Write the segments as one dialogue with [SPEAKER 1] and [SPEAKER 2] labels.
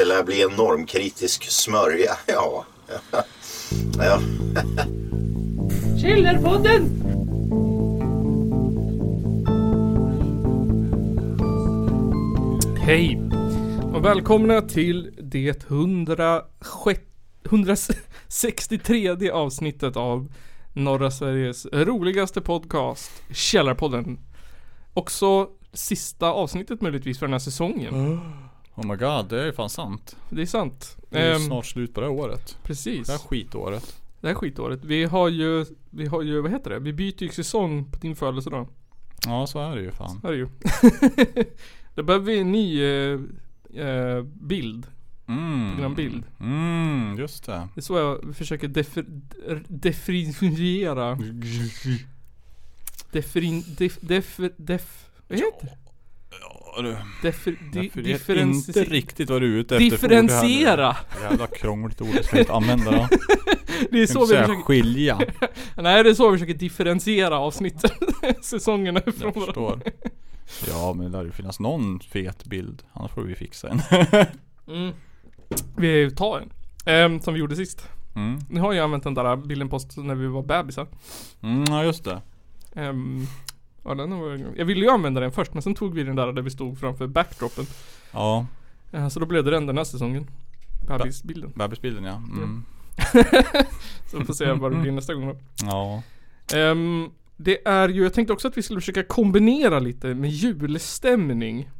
[SPEAKER 1] här bli en normkritisk smörja? Ja. ja.
[SPEAKER 2] Källarpodden!
[SPEAKER 3] Hej och välkomna till det 106 163 avsnittet av norra Sveriges roligaste podcast Källarpodden. Också sista avsnittet möjligtvis för den här säsongen.
[SPEAKER 4] Oh my god, det är ju fan sant.
[SPEAKER 3] Det är sant.
[SPEAKER 4] Det är ju
[SPEAKER 3] Ehm,
[SPEAKER 4] snart slut på det här året.
[SPEAKER 3] Precis.
[SPEAKER 4] Det här skitåret.
[SPEAKER 3] Det här skitåret. Vi har ju, vi har ju, vad heter det? Vi byter ju säsong på din födelsedag.
[SPEAKER 4] Ja, så är det ju fan.
[SPEAKER 3] Här är det ju. Då behöver vi en ny eh, eh, bild.
[SPEAKER 4] Mm.
[SPEAKER 3] Grann bild.
[SPEAKER 4] Mm, just det.
[SPEAKER 3] Det är så jag försöker defer- definiera. Defrin... Def... Def... def vad heter det?
[SPEAKER 4] Ja du.
[SPEAKER 3] Defer, di,
[SPEAKER 4] Därför vet
[SPEAKER 3] differensi-
[SPEAKER 4] inte riktigt vad du är ute efter. för ord här nu.
[SPEAKER 3] differentiera!
[SPEAKER 4] Jävla krångligt ord jag ska inte använda då. Jag
[SPEAKER 3] Det är
[SPEAKER 4] kan
[SPEAKER 3] så vi
[SPEAKER 4] inte säga
[SPEAKER 3] försöker...
[SPEAKER 4] skilja.
[SPEAKER 3] Nej, det är så vi försöker differentiera avsnitten. Säsongerna från
[SPEAKER 4] Jag
[SPEAKER 3] varandra.
[SPEAKER 4] förstår. Ja men det lär ju finnas någon fet bild. Annars får vi fixa en.
[SPEAKER 3] Mm. Vi tar en. Ehm, som vi gjorde sist.
[SPEAKER 4] Mm.
[SPEAKER 3] Ni har ju använt den där bilden på oss när vi var bebisar.
[SPEAKER 4] Mm, ja just det.
[SPEAKER 3] Ehm, ja, den var, jag ville ju använda den först men sen tog vi den där där vi stod framför backdropen.
[SPEAKER 4] Ja,
[SPEAKER 3] Eh, så då blev det den den här säsongen. Bebisbilden.
[SPEAKER 4] bebisbilden ja. Mm.
[SPEAKER 3] Så vi får se vad det blir nästa gång då.
[SPEAKER 4] Ja.
[SPEAKER 3] Ehm, det är ju, jag tänkte också att vi skulle försöka kombinera lite med julstämning.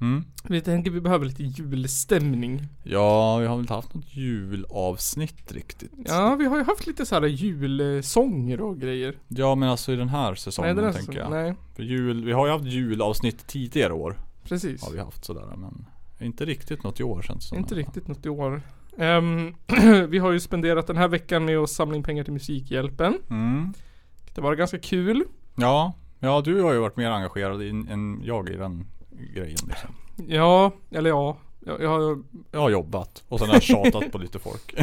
[SPEAKER 4] Mm.
[SPEAKER 3] Vi tänker vi behöver lite julstämning.
[SPEAKER 4] Ja, vi har väl inte haft något julavsnitt riktigt.
[SPEAKER 3] Ja, vi har ju haft lite så här julsånger och grejer.
[SPEAKER 4] Ja men alltså i den här säsongen
[SPEAKER 3] är
[SPEAKER 4] tänker jag.
[SPEAKER 3] Nej,
[SPEAKER 4] För jul, vi har ju haft julavsnitt tidigare år.
[SPEAKER 3] precis.
[SPEAKER 4] Har vi haft sådär men inte riktigt något i år känns det som.
[SPEAKER 3] Inte riktigt något i år. Ehm, vi har ju spenderat den här veckan med att samla in pengar till Musikhjälpen.
[SPEAKER 4] Mm.
[SPEAKER 3] Det var ganska kul.
[SPEAKER 4] Ja, ja du har ju varit mer engagerad i, än jag i den grejen liksom.
[SPEAKER 3] Ja, eller ja. Jag, jag,
[SPEAKER 4] Jag har jobbat och sen har jag tjatat på lite folk.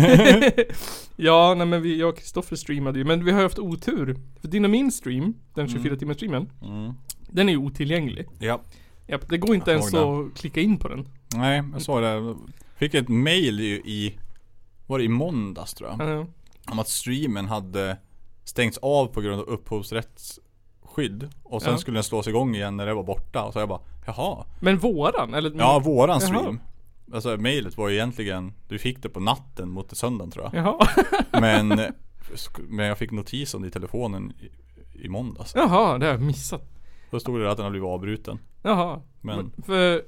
[SPEAKER 3] ja, nej men vi, jag och Kristoffer streamade ju. Men vi har ju haft otur. För din och min stream, den 24 timmars streamen,
[SPEAKER 4] Mm.
[SPEAKER 3] den är ju otillgänglig.
[SPEAKER 4] Ja.
[SPEAKER 3] Japp, det går inte
[SPEAKER 4] Jag
[SPEAKER 3] ens
[SPEAKER 4] såg
[SPEAKER 3] att klicka in på den.
[SPEAKER 4] Nej, jag såg det. Fick ett mail ju i, var det i måndags tror jag?
[SPEAKER 3] Eh,
[SPEAKER 4] om att streamen hade stängts av på grund av upphovsrättsskydd. Och sen
[SPEAKER 3] Ja.
[SPEAKER 4] skulle den slås igång igen när det var borta. Och så jag bara, jaha.
[SPEAKER 3] Men våran, eller?
[SPEAKER 4] Ja,
[SPEAKER 3] Jaha.
[SPEAKER 4] våran stream. Alltså mejlet var ju egentligen, du fick det på natten mot söndagen tror jag.
[SPEAKER 3] Jaha.
[SPEAKER 4] Men, sk- men jag fick notis om det i telefonen i, i måndags.
[SPEAKER 3] Jaha, det har jag missat.
[SPEAKER 4] Då stod det att den hade blivit avbruten.
[SPEAKER 3] Jaha.
[SPEAKER 4] Men,
[SPEAKER 3] För...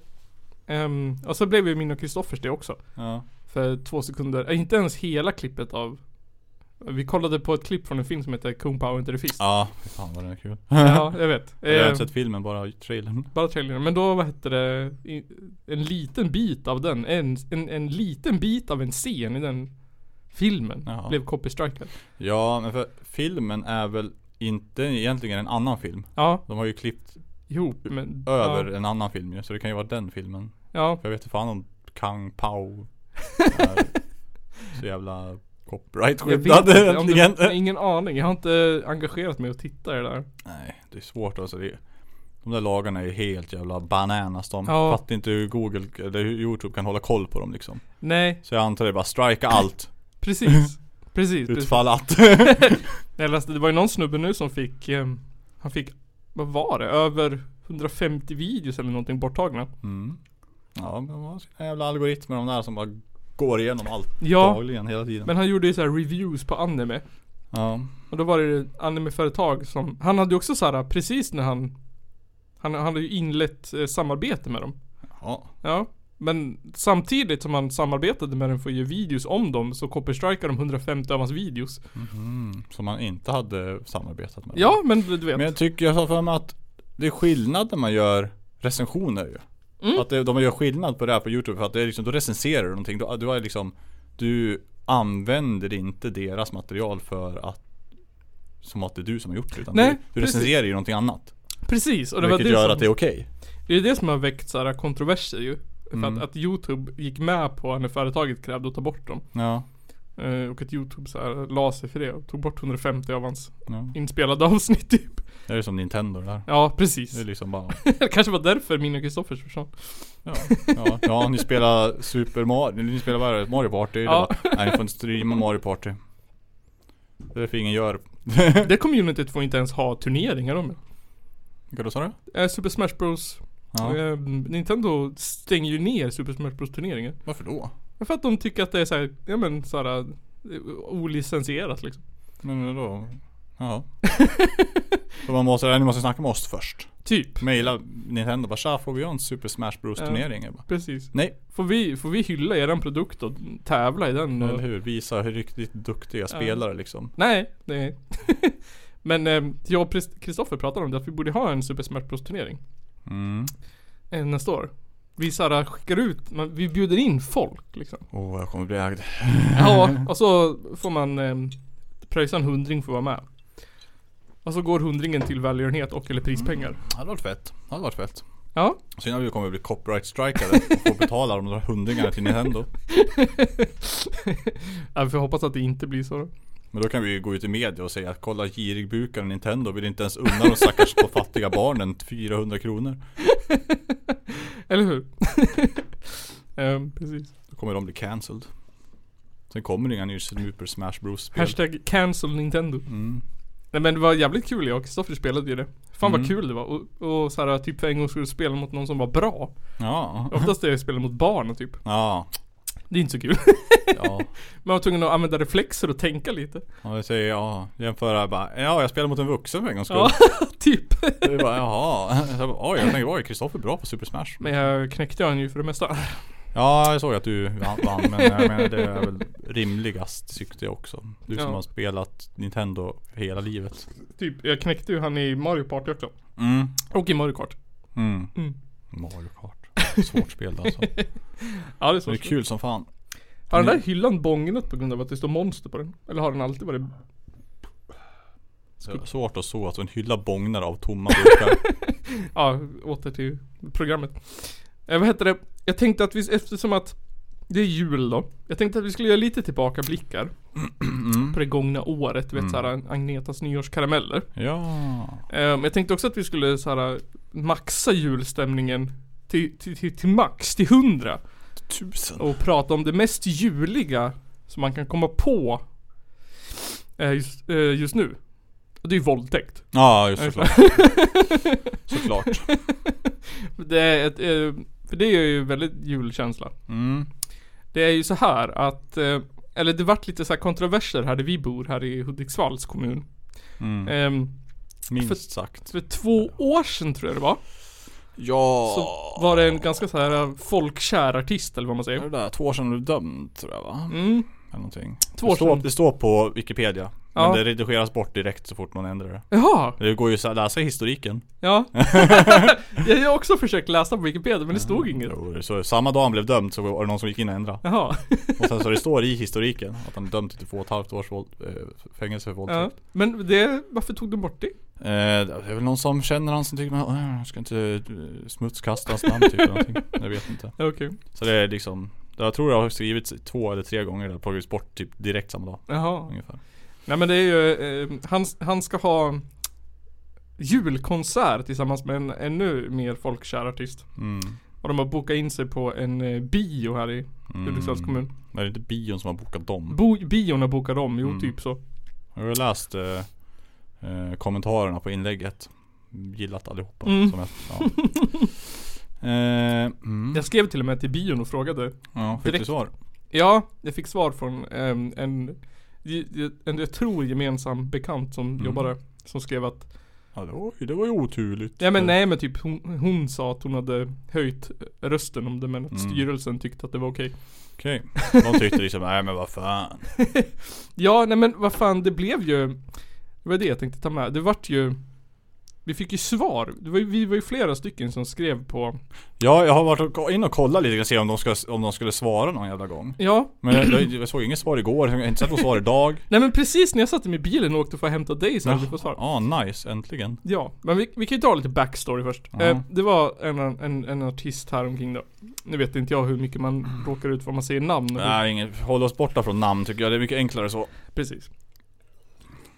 [SPEAKER 3] ehm, och så blev ju min och Kristoffers det också.
[SPEAKER 4] ja.
[SPEAKER 3] För två sekunder, eh, inte ens hela klippet av... Vi kollade på ett klipp från en film som heter Kung Pao Inte The Fist.
[SPEAKER 4] Ja, fy fan vad den är kul.
[SPEAKER 3] Ja, jag vet.
[SPEAKER 4] Jag har
[SPEAKER 3] Eh,
[SPEAKER 4] inte sett filmen, bara trailern.
[SPEAKER 3] Bara trailern, men då vad hette det? i- En liten bit av den, en, en, en liten bit av en scen i den filmen
[SPEAKER 4] Jaha.
[SPEAKER 3] blev copystrikad.
[SPEAKER 4] Ja, men för filmen är väl inte egentligen en annan film.
[SPEAKER 3] Ja,
[SPEAKER 4] De har ju klippt
[SPEAKER 3] ihop men...
[SPEAKER 4] över
[SPEAKER 3] Ja,
[SPEAKER 4] en annan film ju, så det kan ju vara den filmen.
[SPEAKER 3] ja,
[SPEAKER 4] För jag vet inte fan om Kang Pao är så jävla
[SPEAKER 3] jag vet
[SPEAKER 4] copyright-skyddad
[SPEAKER 3] inte, om
[SPEAKER 4] egentligen.
[SPEAKER 3] det, ingen aning. Jag har inte engagerat mig att titta i det där.
[SPEAKER 4] Nej, det är svårt alltså. Det, de där lagarna är helt jävla bananas de.
[SPEAKER 3] Ja.
[SPEAKER 4] Fattar inte hur Google eller hur Youtube kan hålla koll på dem liksom.
[SPEAKER 3] Nej,
[SPEAKER 4] Så jag antar det är bara strika allt,
[SPEAKER 3] precis. precis. precis.
[SPEAKER 4] utfall allt.
[SPEAKER 3] Jag läste, det var ju någon snubbe nu som fick, ehm, han fick, vad var det? Över 150 videos eller någonting borttagna.
[SPEAKER 4] Mm. Ja, men vad sina jävla algoritmer de där som bara går igenom allt
[SPEAKER 3] Ja,
[SPEAKER 4] dagligen hela tiden.
[SPEAKER 3] men han gjorde ju så här reviews på anime.
[SPEAKER 4] Ja.
[SPEAKER 3] Och då var det ju animeföretag som, han hade ju också så här precis när han Han, han hade ju inlett eh, samarbete med dem
[SPEAKER 4] ja.
[SPEAKER 3] Ja Men samtidigt som han samarbetade med dem för att ge videos om dem så copystrikar de 150 av hans videos
[SPEAKER 4] Mhm. Som man inte hade samarbetat med.
[SPEAKER 3] Ja men du du vet
[SPEAKER 4] Men jag tycker, jag har för mig att det är skillnad när man gör recensioner ju.
[SPEAKER 3] Mm.
[SPEAKER 4] Att det, de gör skillnad på det här på Youtube för att det är liksom, då recenserar du någonting. Du, du, är liksom, du använder inte deras material för att som att det är du som har gjort det. Utan
[SPEAKER 3] Nej,
[SPEAKER 4] du, du
[SPEAKER 3] precis.
[SPEAKER 4] recenserar ju någonting annat.
[SPEAKER 3] Precis och det var
[SPEAKER 4] Vilket
[SPEAKER 3] det
[SPEAKER 4] gör
[SPEAKER 3] som,
[SPEAKER 4] att det är okej.
[SPEAKER 3] det är det som har väckt så här kontroverser ju För
[SPEAKER 4] Mm.
[SPEAKER 3] att, att Youtube gick med på när företaget krävde att ta bort dem
[SPEAKER 4] Ja.
[SPEAKER 3] Eh, och att youtube så här la sig för det och tog bort 150 av hans
[SPEAKER 4] Ja.
[SPEAKER 3] inspelade avsnitt typ.
[SPEAKER 4] Det är som Nintendo där.
[SPEAKER 3] Ja
[SPEAKER 4] Det är
[SPEAKER 3] precis.
[SPEAKER 4] liksom bara,
[SPEAKER 3] Det kanske var därför min och Kristoffers försvann.
[SPEAKER 4] ja, ja, ja ni spelar Super Mario, ni spelar vad är det? Mario Party?
[SPEAKER 3] Ja.
[SPEAKER 4] Ja. Nej ni får inte streama Mario Party. Det är därför ingen gör.
[SPEAKER 3] Det communityt får inte ens ha turneringar om
[SPEAKER 4] Vad sa du?
[SPEAKER 3] det. Eh, Super Smash Bros.
[SPEAKER 4] Ja.
[SPEAKER 3] Eh, Nintendo stänger ju ner Super Smash Bros turneringar.
[SPEAKER 4] Varför då?
[SPEAKER 3] För att de tycker att det är såhär, ja men såhär eh, olicensierat liksom.
[SPEAKER 4] Men då? Ja. Så man måste, nej, ni måste snacka med oss först.
[SPEAKER 3] Typ.
[SPEAKER 4] Maila Nintendo bara tja, får vi göra en Super Smash Bros
[SPEAKER 3] Ja.
[SPEAKER 4] turnering? Jag bara,
[SPEAKER 3] Precis.
[SPEAKER 4] nej,
[SPEAKER 3] Får vi, får vi hylla eran produkt och tävla i den?
[SPEAKER 4] eller
[SPEAKER 3] Och...
[SPEAKER 4] hur? Visa hur riktigt duktiga spelare liksom.
[SPEAKER 3] Nej, nej. men eh, jag och Prist- Kristoffer pratade om det, att vi borde ha en Super Smash Bros turnering.
[SPEAKER 4] Mm.
[SPEAKER 3] Eh, nästa år. Vi såhär skickar ut, man, vi bjuder in folk liksom.
[SPEAKER 4] Åh, jag kommer bli ägd.
[SPEAKER 3] Ja, och så får man eh, pröjsa en hundring för att vara med. Och så går hundringen till välgörenhet och eller prispengar.
[SPEAKER 4] Det hade varit fett. Det hade varit fett.
[SPEAKER 3] Ja.
[SPEAKER 4] Synd att vi kommer bli copyright strikade och få betala de där hundringarna till Nintendo.
[SPEAKER 3] ja, vi får hoppas att det inte blir så då.
[SPEAKER 4] Men då kan vi ju gå ut i media och säga att kolla girigbukaren Nintendo vill inte ens unna de stackars på fattiga barnen 400 kronor.
[SPEAKER 3] Eller hur? Ehm, precis.
[SPEAKER 4] Då kommer de bli cancelled. Sen kommer det inga nya Super Smash Bros spel.
[SPEAKER 3] Hashtag cancel Nintendo.
[SPEAKER 4] Mm.
[SPEAKER 3] Nej men det var jävligt kul, jag och Kristoffer spelade ju det. Fan vad
[SPEAKER 4] Mm.
[SPEAKER 3] kul det var. Och, och så här, typ för en gång skulle spela mot någon som var bra.
[SPEAKER 4] Ja.
[SPEAKER 3] Oftast är jag spelar mot barn och typ.
[SPEAKER 4] Ja.
[SPEAKER 3] Det är inte så kul.
[SPEAKER 4] Ja.
[SPEAKER 3] Man var tvungen att använda reflexer och tänka lite.
[SPEAKER 4] Ja, jag säger ja. Jämföra bara, ja jag spelar mot en vuxen för en gångs skull.
[SPEAKER 3] Ja. Typ.
[SPEAKER 4] Det är bara, jaha. Så jag bara, Oj, jag tänker, oj, Kristoffer är bra på Super Smash.
[SPEAKER 3] Men jag knäckte han ju för det mesta.
[SPEAKER 4] Ja, jag såg att du vann men jag menar det är väl rimligast tyckte jag också. Du som
[SPEAKER 3] Ja.
[SPEAKER 4] har spelat Nintendo hela livet.
[SPEAKER 3] Typ, jag knäckte ju han i Mario Party också.
[SPEAKER 4] Mm.
[SPEAKER 3] Och i Mario Kart.
[SPEAKER 4] Mm.
[SPEAKER 3] Mm.
[SPEAKER 4] Mario Kart. Svårt spel alltså. Men
[SPEAKER 3] Ja det är
[SPEAKER 4] det
[SPEAKER 3] så.
[SPEAKER 4] är kul som fan.
[SPEAKER 3] Har den där hyllan bångnat på grund av att det står monster på den? Eller har den alltid varit...
[SPEAKER 4] Så det är Svårt att så att en hylla bångnar av tomma burkar.
[SPEAKER 3] Ja, åter till programmet. Eh, vad heter det? Jag tänkte att vi, eftersom att det är jul då. Jag tänkte att vi skulle göra lite tillbakablickar
[SPEAKER 4] Mm.
[SPEAKER 3] på det gångna året. Du vet
[SPEAKER 4] Mm.
[SPEAKER 3] såhär Agnetas nyårskarameller.
[SPEAKER 4] Ja.
[SPEAKER 3] Eh, men jag tänkte också att vi skulle såhär maxa julstämningen till, till, till, till max, till hundra.
[SPEAKER 4] Tusen.
[SPEAKER 3] och prata om det mest juliga som man kan komma på eh, just, eh, just nu. Och det är ju våldtäkt.
[SPEAKER 4] Ja, just såklart. såklart.
[SPEAKER 3] Det är ett, eh, för det är ju väldigt julkänsla.
[SPEAKER 4] Mm.
[SPEAKER 3] Det är ju så här att, eh, eller det vart lite så här kontroverser här där vi bor här i Hudiksvalls kommun.
[SPEAKER 4] Mm.
[SPEAKER 3] Ehm,
[SPEAKER 4] Minst sagt.
[SPEAKER 3] för två år sedan tror jag det var,
[SPEAKER 4] Ja.
[SPEAKER 3] så var det en ganska så här eh, folkkär artist eller vad man
[SPEAKER 4] Är det
[SPEAKER 3] säger.
[SPEAKER 4] där två år sedan du dömd tror jag va?
[SPEAKER 3] Mm,
[SPEAKER 4] Eller någonting.
[SPEAKER 3] två år
[SPEAKER 4] det, står,
[SPEAKER 3] sedan.
[SPEAKER 4] det står på Wikipedia.
[SPEAKER 3] Ja.
[SPEAKER 4] Men det redigeras bort direkt så fort någon ändrar det.
[SPEAKER 3] Jaha,
[SPEAKER 4] Det går ju så att läsa i historiken.
[SPEAKER 3] ja. jag har också försökt läsa på Wikipedia men det stod inget.
[SPEAKER 4] Mm. Jo, det- Så samma dag han blev dömd så var det någon som gick in och ändrade.
[SPEAKER 3] Jaha.
[SPEAKER 4] Och sen så det står i historiken att han är dömd till två och ett halvt års våld, eh, fängelse för
[SPEAKER 3] Ja,
[SPEAKER 4] våldtäkt.
[SPEAKER 3] men det, varför tog de bort det?
[SPEAKER 4] Eh, det är väl någon som känner han som tycker man "Åh, jag ska inte eh, smutskasta hans namn typ eller någonting. Jag vet inte.
[SPEAKER 3] Ja, Okej.
[SPEAKER 4] Så det är liksom Jag tror det har skrivits två eller tre gånger där plockats bort typ direkt samma dag
[SPEAKER 3] Jaha.
[SPEAKER 4] ungefär.
[SPEAKER 3] Nej men det är ju, eh, han, han ska ha julkonsert tillsammans med en ännu mer folkkär artist.
[SPEAKER 4] Mm.
[SPEAKER 3] Och de har bokat in sig på en eh, bio här i
[SPEAKER 4] Mm.
[SPEAKER 3] Hudiksvalls kommun.
[SPEAKER 4] Men det är inte bion som har bokat dem.
[SPEAKER 3] Bo, biorna bokar om, jo
[SPEAKER 4] Mm.
[SPEAKER 3] typ så.
[SPEAKER 4] Jag har läst eh, eh, kommentarerna på inlägget. Gillat allihopa.
[SPEAKER 3] Mm.
[SPEAKER 4] Som jag, ja. eh, mm.
[SPEAKER 3] Jag skrev till och med till bion och frågade.
[SPEAKER 4] ja, fick
[SPEAKER 3] direkt-
[SPEAKER 4] du svar?
[SPEAKER 3] Ja, jag fick svar från eh, en, en, en, jag tror gemensam bekant som
[SPEAKER 4] Mm.
[SPEAKER 3] jobbar där. Som skrev att,
[SPEAKER 4] Ja, det, var, ju- det var ju oturligt.
[SPEAKER 3] ja men nej men typ hon, hon sa att hon hade höjt rösten om det men att
[SPEAKER 4] Mm.
[SPEAKER 3] styrelsen tyckte att det var okej.
[SPEAKER 4] Okej. De tyckte liksom, nej men vad fan.
[SPEAKER 3] Ja, nej men vad fan det blev ju Det var det jag tänkte ta med. Det vart ju Vi fick ju svar. Det var ju, vi var ju flera stycken som skrev på...
[SPEAKER 4] Ja, jag har varit och ko- in och kollat lite grann och se om de, ska, om de skulle svara någon jävla gång.
[SPEAKER 3] Ja,
[SPEAKER 4] Men jag, jag, jag såg inget svar igår, jag har inte sett något svar idag.
[SPEAKER 3] nej men precis när jag satte mig i bilen och åkte för att hämta dig så hade vi fått svar.
[SPEAKER 4] Ja, ah, nice. Äntligen.
[SPEAKER 3] Ja, men vi, vi kan ju ta lite backstory först.
[SPEAKER 4] Ja.
[SPEAKER 3] Eh, det var en, en, en artist här omkring då. Nu vet inte jag hur mycket man råkar ut för om man säger namn. och hur-
[SPEAKER 4] Nej, inget, håll oss borta från namn tycker jag. Det är mycket enklare så.
[SPEAKER 3] Precis.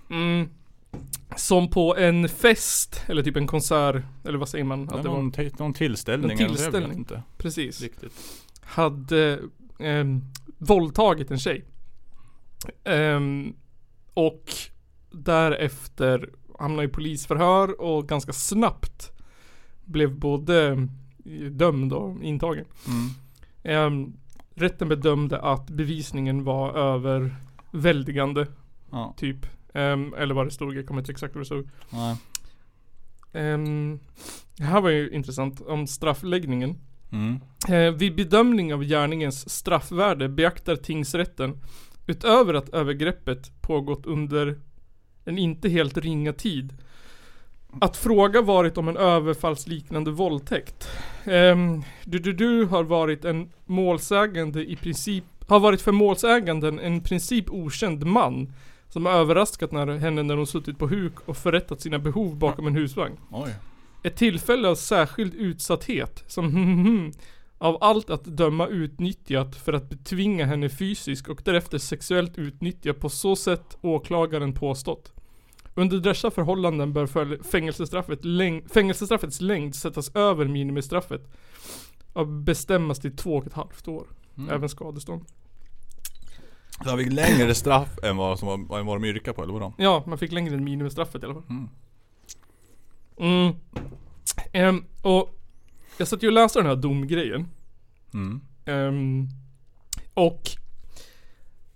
[SPEAKER 3] Mm. Som på en fest, eller typ en konsert, eller vad säger man?
[SPEAKER 4] Att
[SPEAKER 3] Att det var,
[SPEAKER 4] någon, ti- någon tillställning,
[SPEAKER 3] En
[SPEAKER 4] eller så, Jag vet
[SPEAKER 3] tillställning.
[SPEAKER 4] inte
[SPEAKER 3] precis.
[SPEAKER 4] riktigt.
[SPEAKER 3] Hade ehm, våldtagit en tjej. Ehm, och därefter hamnade i polisförhör och ganska snabbt blev både eh, dömd och intagen.
[SPEAKER 4] Mm.
[SPEAKER 3] Ehm, rätten bedömde att bevisningen var överväldigande,
[SPEAKER 4] Ja,
[SPEAKER 3] typ. Ehm, eller vad det stod, jag kommer inte exakt vad det stod.
[SPEAKER 4] nej.
[SPEAKER 3] Ehm, det här var ju intressant, om straffläggningen.
[SPEAKER 4] Mm.
[SPEAKER 3] Eh, vid bedömning av gärningens straffvärde beaktar tingsrätten, utöver att övergreppet pågått under en inte helt ringa tid, att fråga varit om en överfallsliknande våldtäkt. Ehm, du, du, du har varit en målsägande i princip, har varit för målsäganden en princip okänd man som har överraskat när, henne när hon suttit på huk och förrättat sina behov bakom en husvagn.
[SPEAKER 4] Oj.
[SPEAKER 3] Ett tillfälle av särskild utsatthet som av allt att döma utnyttjat för att betvinga henne fysiskt och därefter sexuellt utnyttja på så sätt åklagaren påstått. Under dessa förhållanden bör följ- fängelsestraffet läng- fängelsestraffets längd sättas över minimistraffet och bestämmas till två och ett halvt år.
[SPEAKER 4] Mm.
[SPEAKER 3] Även skadestånd.
[SPEAKER 4] Så han fick längre straff än vad, som var, än vad de yrkade på, eller vadå?
[SPEAKER 3] Ja, man fick längre än minimistraffet i alla fall.
[SPEAKER 4] Mm.
[SPEAKER 3] Mm. Ehm, och jag satt ju och läste den här domgrejen.
[SPEAKER 4] Mm.
[SPEAKER 3] Ehm, och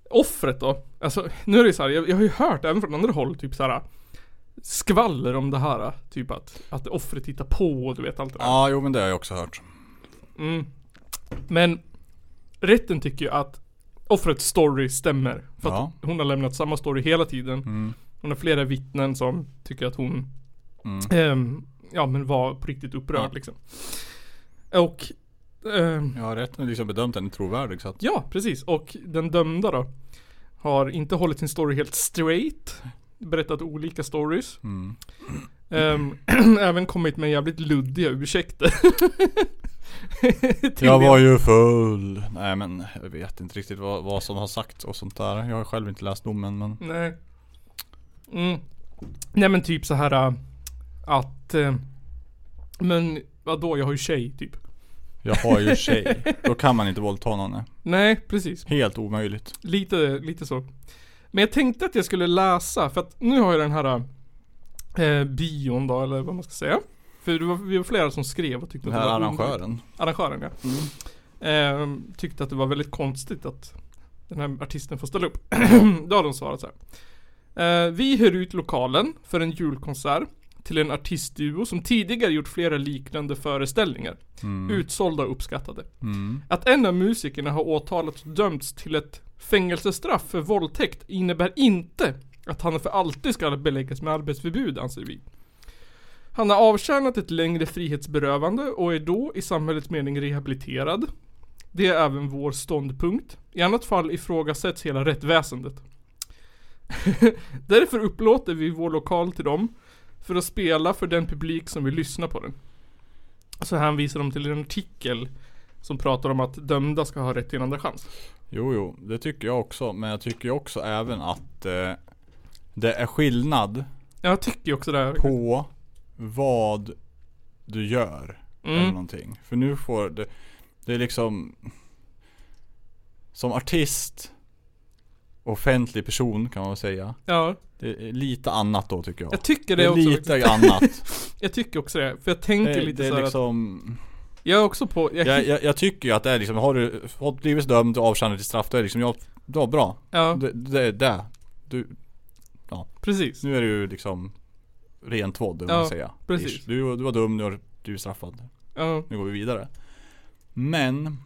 [SPEAKER 3] offret då. Alltså nu är det så här, jag, jag har ju hört även från andra håll typ så här skvaller om det här. Typ att, att offret tittar på och du vet allt det där.
[SPEAKER 4] Ja, jo men det har jag också hört.
[SPEAKER 3] Mm. Men rätten tycker ju att offrets story stämmer. För att
[SPEAKER 4] Ja.
[SPEAKER 3] hon har lämnat samma story hela tiden.
[SPEAKER 4] Mm.
[SPEAKER 3] Hon har flera vittnen som tycker att hon
[SPEAKER 4] Mm.
[SPEAKER 3] ehm, ja, men var på riktigt upprörd
[SPEAKER 4] Ja.
[SPEAKER 3] liksom. Och ehm,
[SPEAKER 4] Ja, rätten har liksom bedömt henne trovärdig så att...
[SPEAKER 3] Ja, precis. Och den dömda då har inte hållit sin story helt straight. Berättat olika stories.
[SPEAKER 4] Mm.
[SPEAKER 3] Ehm, även kommit med jävligt luddiga ursäkter. Till
[SPEAKER 4] Jag
[SPEAKER 3] det.
[SPEAKER 4] var ju full. Nej men jag vet inte riktigt vad, vad som har sagts och sånt där. Jag har själv inte läst domen men...
[SPEAKER 3] Nej. Mm. Nej men typ så här äh, att... Äh, men vadå, jag har ju tjej typ.
[SPEAKER 4] Jag har ju tjej. Då kan man inte våldta någon. nej.
[SPEAKER 3] Nej, precis.
[SPEAKER 4] Helt omöjligt.
[SPEAKER 3] Lite, lite så. Men jag tänkte att jag skulle läsa, för att nu har jag den här eh, bion då, eller vad man ska säga. För det var, vi var flera som skrev och tyckte
[SPEAKER 4] Den
[SPEAKER 3] att
[SPEAKER 4] här
[SPEAKER 3] det var underligt.
[SPEAKER 4] arrangören.
[SPEAKER 3] Arrangören ja. Ehm, tyckte att det var väldigt konstigt att den här artisten får ställa upp. då har de svarat så här. Eh, vi hyr ut lokalen för en julkonsert till en artistduo som tidigare gjort flera liknande föreställningar.
[SPEAKER 4] Mm.
[SPEAKER 3] Utsålda och uppskattade.
[SPEAKER 4] Mm.
[SPEAKER 3] Att en av musikerna har åtalats och dömts till ett fängelsestraff för våldtäkt innebär inte att han för alltid ska beläggas med arbetsförbud, anser vi. Han har avtjänat ett längre frihetsberövande och är då i samhällets mening rehabiliterad. Det är även vår ståndpunkt. I annat fall ifrågasätts hela rättväsendet. Därför upplåter vi vår lokal till dem för att spela för den publik som vill lyssna på den. Så hänvisar de till en artikel som pratar om att dömda ska ha rätt till en andra chans.
[SPEAKER 4] Jo, jo. Det tycker jag också. Men jag tycker ju också även att eh, det är skillnad
[SPEAKER 3] Jag tycker ju också det här.
[SPEAKER 4] på vad du gör. eller
[SPEAKER 3] Mm.
[SPEAKER 4] någonting. För nu får det, det är liksom Som artist Offentlig person kan man väl säga.
[SPEAKER 3] Ja,
[SPEAKER 4] Det är lite annat då tycker jag.
[SPEAKER 3] jag tycker
[SPEAKER 4] det
[SPEAKER 3] det
[SPEAKER 4] är
[SPEAKER 3] också.
[SPEAKER 4] lite annat.
[SPEAKER 3] Jag tycker också det. För jag
[SPEAKER 4] Det,
[SPEAKER 3] tänker
[SPEAKER 4] är-
[SPEAKER 3] lite
[SPEAKER 4] det
[SPEAKER 3] så
[SPEAKER 4] är
[SPEAKER 3] här
[SPEAKER 4] liksom
[SPEAKER 3] att jag är också på, jag,
[SPEAKER 4] jag, jag, jag tycker ju att det är liksom, har du fått blivit dömd och avtjänat ditt straff då är det liksom, ja, då bra.
[SPEAKER 3] ja
[SPEAKER 4] Det, det är det. Du,
[SPEAKER 3] precis.
[SPEAKER 4] nu är det ju liksom Rent vådd,
[SPEAKER 3] Ja,
[SPEAKER 4] ja, säga.
[SPEAKER 3] precis.
[SPEAKER 4] Ish. Du, du var dum, nu är du straffad.
[SPEAKER 3] Ja,
[SPEAKER 4] Nu går vi vidare. Men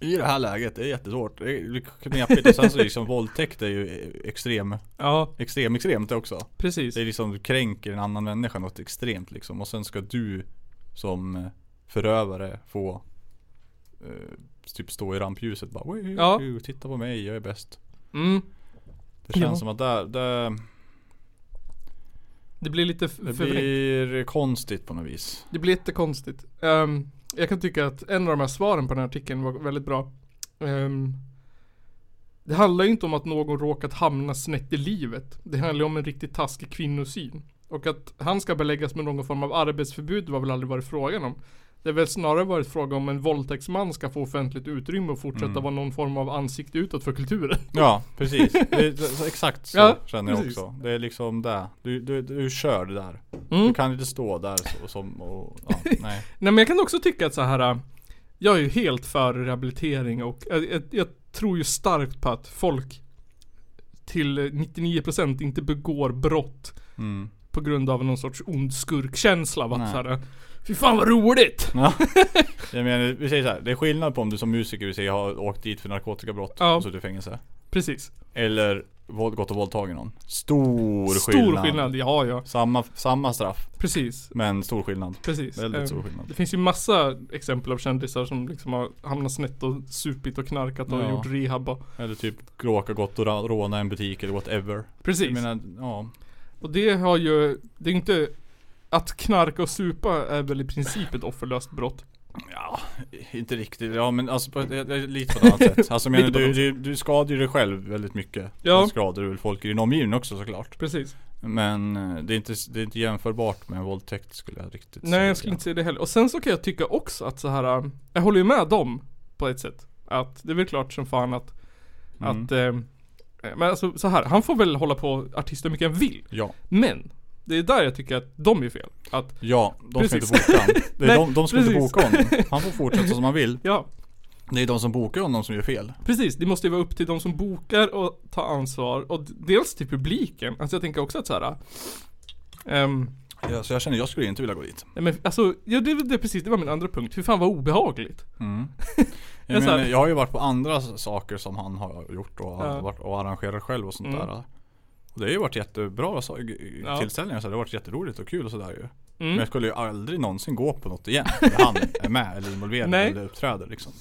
[SPEAKER 4] I det här läget, det är jättesvårt. Det är knepigt och sen så liksom våldtäkt är ju extrem,
[SPEAKER 3] Ja,
[SPEAKER 4] extrem, extremt också.
[SPEAKER 3] precis.
[SPEAKER 4] Det är liksom, du kränker en annan människa något extremt liksom. Och sen ska du som förövare få eh, typ stå i rampljuset bara "Oj,
[SPEAKER 3] Ja.
[SPEAKER 4] oj, oj, Titta på mig, jag är bäst.
[SPEAKER 3] Mm.
[SPEAKER 4] Det känns
[SPEAKER 3] Ja.
[SPEAKER 4] som att där, där
[SPEAKER 3] Det blir lite f-
[SPEAKER 4] det
[SPEAKER 3] förvrängt.
[SPEAKER 4] blir konstigt på något vis.
[SPEAKER 3] Det blir jättekonstigt. Ehm, jag kan tycka att en av de här svaren på den här artikeln var väldigt bra. Ehm, det handlar ju inte om att någon råkat hamna snett i livet. Det handlar ju om en riktigt taskig kvinnosyn. Och att han ska beläggas med någon form av arbetsförbud var väl aldrig varit frågan om. Det har väl snarare varit fråga om en våldtäktsman ska få offentligt utrymme och fortsätta
[SPEAKER 4] Mm.
[SPEAKER 3] vara någon form av ansikte utåt för kulturen.
[SPEAKER 4] Ja, precis. Det är, så- exakt så
[SPEAKER 3] Ja,
[SPEAKER 4] känner jag
[SPEAKER 3] precis.
[SPEAKER 4] också. Det är liksom det. Du, du, du kör det där. Du
[SPEAKER 3] Mm.
[SPEAKER 4] kan inte stå där så, som och, ja, nej.
[SPEAKER 3] Nej men jag kan också tycka att så här. äh, Jag är ju helt för rehabilitering och äh, jag, jag, jag tror ju starkt på att folk till 99% inte begår brott
[SPEAKER 4] Mm.
[SPEAKER 3] på grund av någon sorts ond skurkkänsla. Va?
[SPEAKER 4] Nej.
[SPEAKER 3] Så här, äh, Fy fan vad roligt!
[SPEAKER 4] Ja. Jag menar, vi säger så här, det är skillnad på om du som musiker vill säga har åkt dit för narkotikabrott
[SPEAKER 3] Ja.
[SPEAKER 4] och suttit i fängelse.
[SPEAKER 3] Precis.
[SPEAKER 4] Eller våld, gått och våldtagit någon. Stor,
[SPEAKER 3] Stor
[SPEAKER 4] skillnad.
[SPEAKER 3] skillnad. Ja, ja.
[SPEAKER 4] Samma, samma straff,
[SPEAKER 3] Precis.
[SPEAKER 4] men stor skillnad.
[SPEAKER 3] Precis.
[SPEAKER 4] Väldigt
[SPEAKER 3] Ehm,
[SPEAKER 4] stor skillnad.
[SPEAKER 3] Det finns ju massa exempel av kändisar som liksom har hamnat snett och supit och knarkat och
[SPEAKER 4] Ja.
[SPEAKER 3] gjort rehab och,
[SPEAKER 4] Eller typ råka gått och ra- råna en butik eller whatever.
[SPEAKER 3] Precis.
[SPEAKER 4] Jag menar, ja.
[SPEAKER 3] Och det har ju, det är ju inte Att knarka och supa är väl i princip ett offerlöst brott
[SPEAKER 4] Ja, inte riktigt. Ja men alltså på, ett- ett- ett- lite på ett annat sätt. Alltså jag menar,
[SPEAKER 3] Lite på
[SPEAKER 4] du,
[SPEAKER 3] ett
[SPEAKER 4] du, du skadar ju dig själv väldigt mycket.
[SPEAKER 3] Ja.
[SPEAKER 4] Du skadar väl folk i din omgivning också såklart.
[SPEAKER 3] Precis
[SPEAKER 4] Men eh, det är inte, det är inte jämförbart med en våldtäkt skulle jag riktigt säga.
[SPEAKER 3] Nej jag skulle inte säga det heller. Och sen så kan jag tycka också att så här. äh, Jag håller ju med dem på ett sätt. Att det är väl klart som fan att,
[SPEAKER 4] Mm.
[SPEAKER 3] att eh, Men alltså så här, han får väl hålla på artist hur mycket han vill.
[SPEAKER 4] Ja,
[SPEAKER 3] Men det är där jag tycker att de är fel. Att
[SPEAKER 4] ja de ska
[SPEAKER 3] Precis.
[SPEAKER 4] inte boka honom. Det är
[SPEAKER 3] Nej,
[SPEAKER 4] de, de ska inte
[SPEAKER 3] precis.
[SPEAKER 4] boka honom. Han får fortsätta som han vill.
[SPEAKER 3] ja,
[SPEAKER 4] Det är de som bokar honom som gör fel.
[SPEAKER 3] precis. Det måste ju vara upp till de som bokar och ta ansvar. Och d- dels till publiken. Alltså jag tänker också att så här. ehm,
[SPEAKER 4] Ja, så jag känner, jag skulle inte vilja gå dit.
[SPEAKER 3] nej men alltså, ja, det, det, precis, det var min andra punkt. Hur fan vad obehagligt.
[SPEAKER 4] Mm.
[SPEAKER 3] är
[SPEAKER 4] Jag,
[SPEAKER 3] så här-
[SPEAKER 4] menar, jag har ju varit på andra s- saker som han har gjort och, har
[SPEAKER 3] Ja.
[SPEAKER 4] varit och arrangerat själv och sånt
[SPEAKER 3] Mm.
[SPEAKER 4] där. Och det har ju varit jättebra så, g- g-
[SPEAKER 3] Ja.
[SPEAKER 4] tillställningar så det har varit jätteroligt och kul och sådär ju. Men
[SPEAKER 3] Mm.
[SPEAKER 4] jag skulle ju aldrig någonsin gå på något igen där han är med eller involverad
[SPEAKER 3] Nej.
[SPEAKER 4] eller uppträder liksom.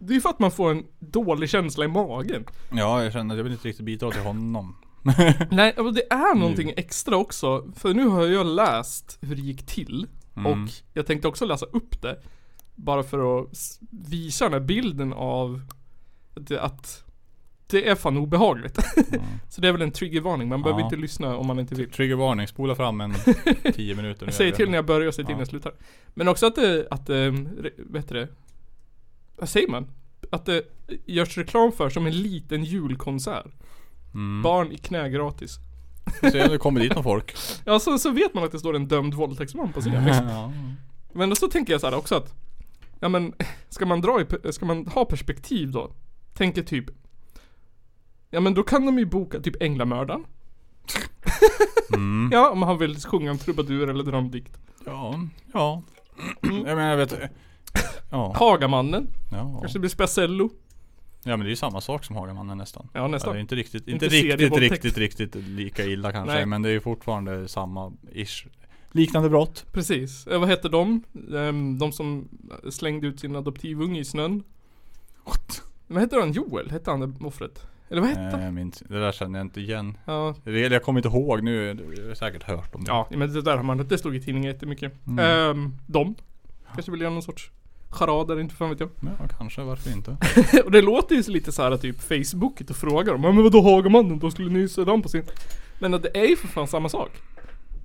[SPEAKER 3] Det är ju för att man får en dålig känsla i magen.
[SPEAKER 4] Ja, jag känner att jag vill inte riktigt bidra till honom.
[SPEAKER 3] Nej, och det är
[SPEAKER 4] Mm.
[SPEAKER 3] någonting extra också. För nu har jag läst hur det gick till.
[SPEAKER 4] Mm.
[SPEAKER 3] Och jag tänkte också läsa upp det. Bara för att s- visa den här bilden av att det, att det är fan obehagligt. Så det är väl en triggervarning. Man behöver
[SPEAKER 4] Ja.
[SPEAKER 3] inte lyssna om man inte vill.
[SPEAKER 4] Triggervarning, spola fram en 10 minuter nu.
[SPEAKER 3] Jag säger till när jag börjar och säger till
[SPEAKER 4] Ja.
[SPEAKER 3] när jag slutar. Men också att det, att det, vad heter det? Vad säger man? Att det görs reklam för som en liten julkonsert.
[SPEAKER 4] Mm.
[SPEAKER 3] Barn i knä gratis.
[SPEAKER 4] Se om det kommer dit någon folk.
[SPEAKER 3] Ja, så, så vet man att det står en dömd våldtäktsman på scenen. liksom.
[SPEAKER 4] ja.
[SPEAKER 3] Men så tänker jag så här också att Ja men ska man dra i, pe- ska man ha perspektiv då? Tänker typ Ja men då kan de ju boka typ Änglamördaren
[SPEAKER 4] Mm.
[SPEAKER 3] Ja om han vill sjunga en trubadur eller dra en dikt
[SPEAKER 4] ja, ja. Jag menar jag vet. Ja,
[SPEAKER 3] Hagamannen
[SPEAKER 4] ja.
[SPEAKER 3] Kanske blir Speciello
[SPEAKER 4] Ja men det är ju samma sak som Hagamannen nästan.
[SPEAKER 3] Ja
[SPEAKER 4] Eller
[SPEAKER 3] nästan
[SPEAKER 4] inte riktigt,
[SPEAKER 3] Inte
[SPEAKER 4] inte riktigt,
[SPEAKER 3] serievåldtäkt.
[SPEAKER 4] riktigt, riktigt lika illa kanske.
[SPEAKER 3] Nej.
[SPEAKER 4] Men det är ju fortfarande samma ish. Liknande brott.
[SPEAKER 3] Precis, eh, vad hette de? Ehm, De som slängde ut sin adoptivunge i snön
[SPEAKER 4] What? Eh.
[SPEAKER 3] Vad hette han? Joel? Hette han det offret? Eller vad hette han?
[SPEAKER 4] Nej, jag minns, det där känner jag inte igen.
[SPEAKER 3] Ja,
[SPEAKER 4] Det, jag kommer inte ihåg nu. Jag har säkert hört om det.
[SPEAKER 3] Ja, men det där har man, det stod i tidningen jättemycket.
[SPEAKER 4] Mm.
[SPEAKER 3] Ehm, de kanske vill göra någon sorts charader, inte fan vet jag.
[SPEAKER 4] Ja, kanske. Varför inte?
[SPEAKER 3] och det låter ju så lite så här typ Facebookigt och frågar dem. "Ja, Men vadå Hagamannen, då skulle ni se dem på sin... Men att det är ju för fan samma sak.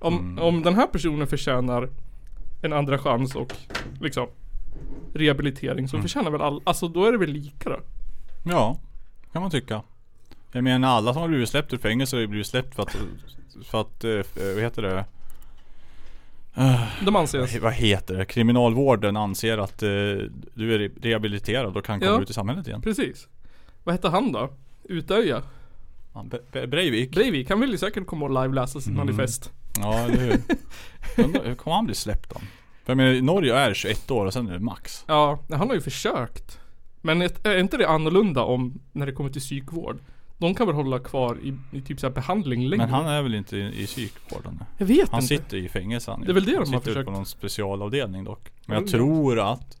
[SPEAKER 3] Om,
[SPEAKER 4] Mm.
[SPEAKER 3] om den här personen förtjänar en andra chans och liksom rehabilitering så
[SPEAKER 4] Mm.
[SPEAKER 3] förtjänar väl alla, alltså då är det väl lika då?
[SPEAKER 4] Ja, kan man tycka. Jag menar alla som har blivit släppt ur fängelse har ju blivit släppt för att, för att, eh, vad heter det?
[SPEAKER 3] De anses.
[SPEAKER 4] Vad heter det? Kriminalvården anser att eh, du är rehabiliterad och kan komma
[SPEAKER 3] Ja.
[SPEAKER 4] ut i samhället igen.
[SPEAKER 3] Precis. Vad hette han då? Utöja?
[SPEAKER 4] Ja, Bre- Bre- Breivik.
[SPEAKER 3] Breivik, han vill ju säkert komma och live-läsa sin
[SPEAKER 4] Mm.
[SPEAKER 3] manifest.
[SPEAKER 4] Ja, eller hur? Undrar, hur Kommer han bli släppt då? För jag menar, i Norge är 21 år och sen är det max.
[SPEAKER 3] Ja, han har ju försökt. Men ett, är inte det annorlunda om när det kommer till psykvård? De kan väl hålla kvar i, i typ så här behandling längre?
[SPEAKER 4] Men han är väl inte i, i psykvården? nu?
[SPEAKER 3] jag vet
[SPEAKER 4] Han
[SPEAKER 3] inte.
[SPEAKER 4] sitter i fängelse han
[SPEAKER 3] Det är väl det
[SPEAKER 4] han
[SPEAKER 3] de har
[SPEAKER 4] sitter väl på
[SPEAKER 3] försökt.
[SPEAKER 4] någon specialavdelning dock.
[SPEAKER 3] Ja,
[SPEAKER 4] Men jag
[SPEAKER 3] det är
[SPEAKER 4] tror att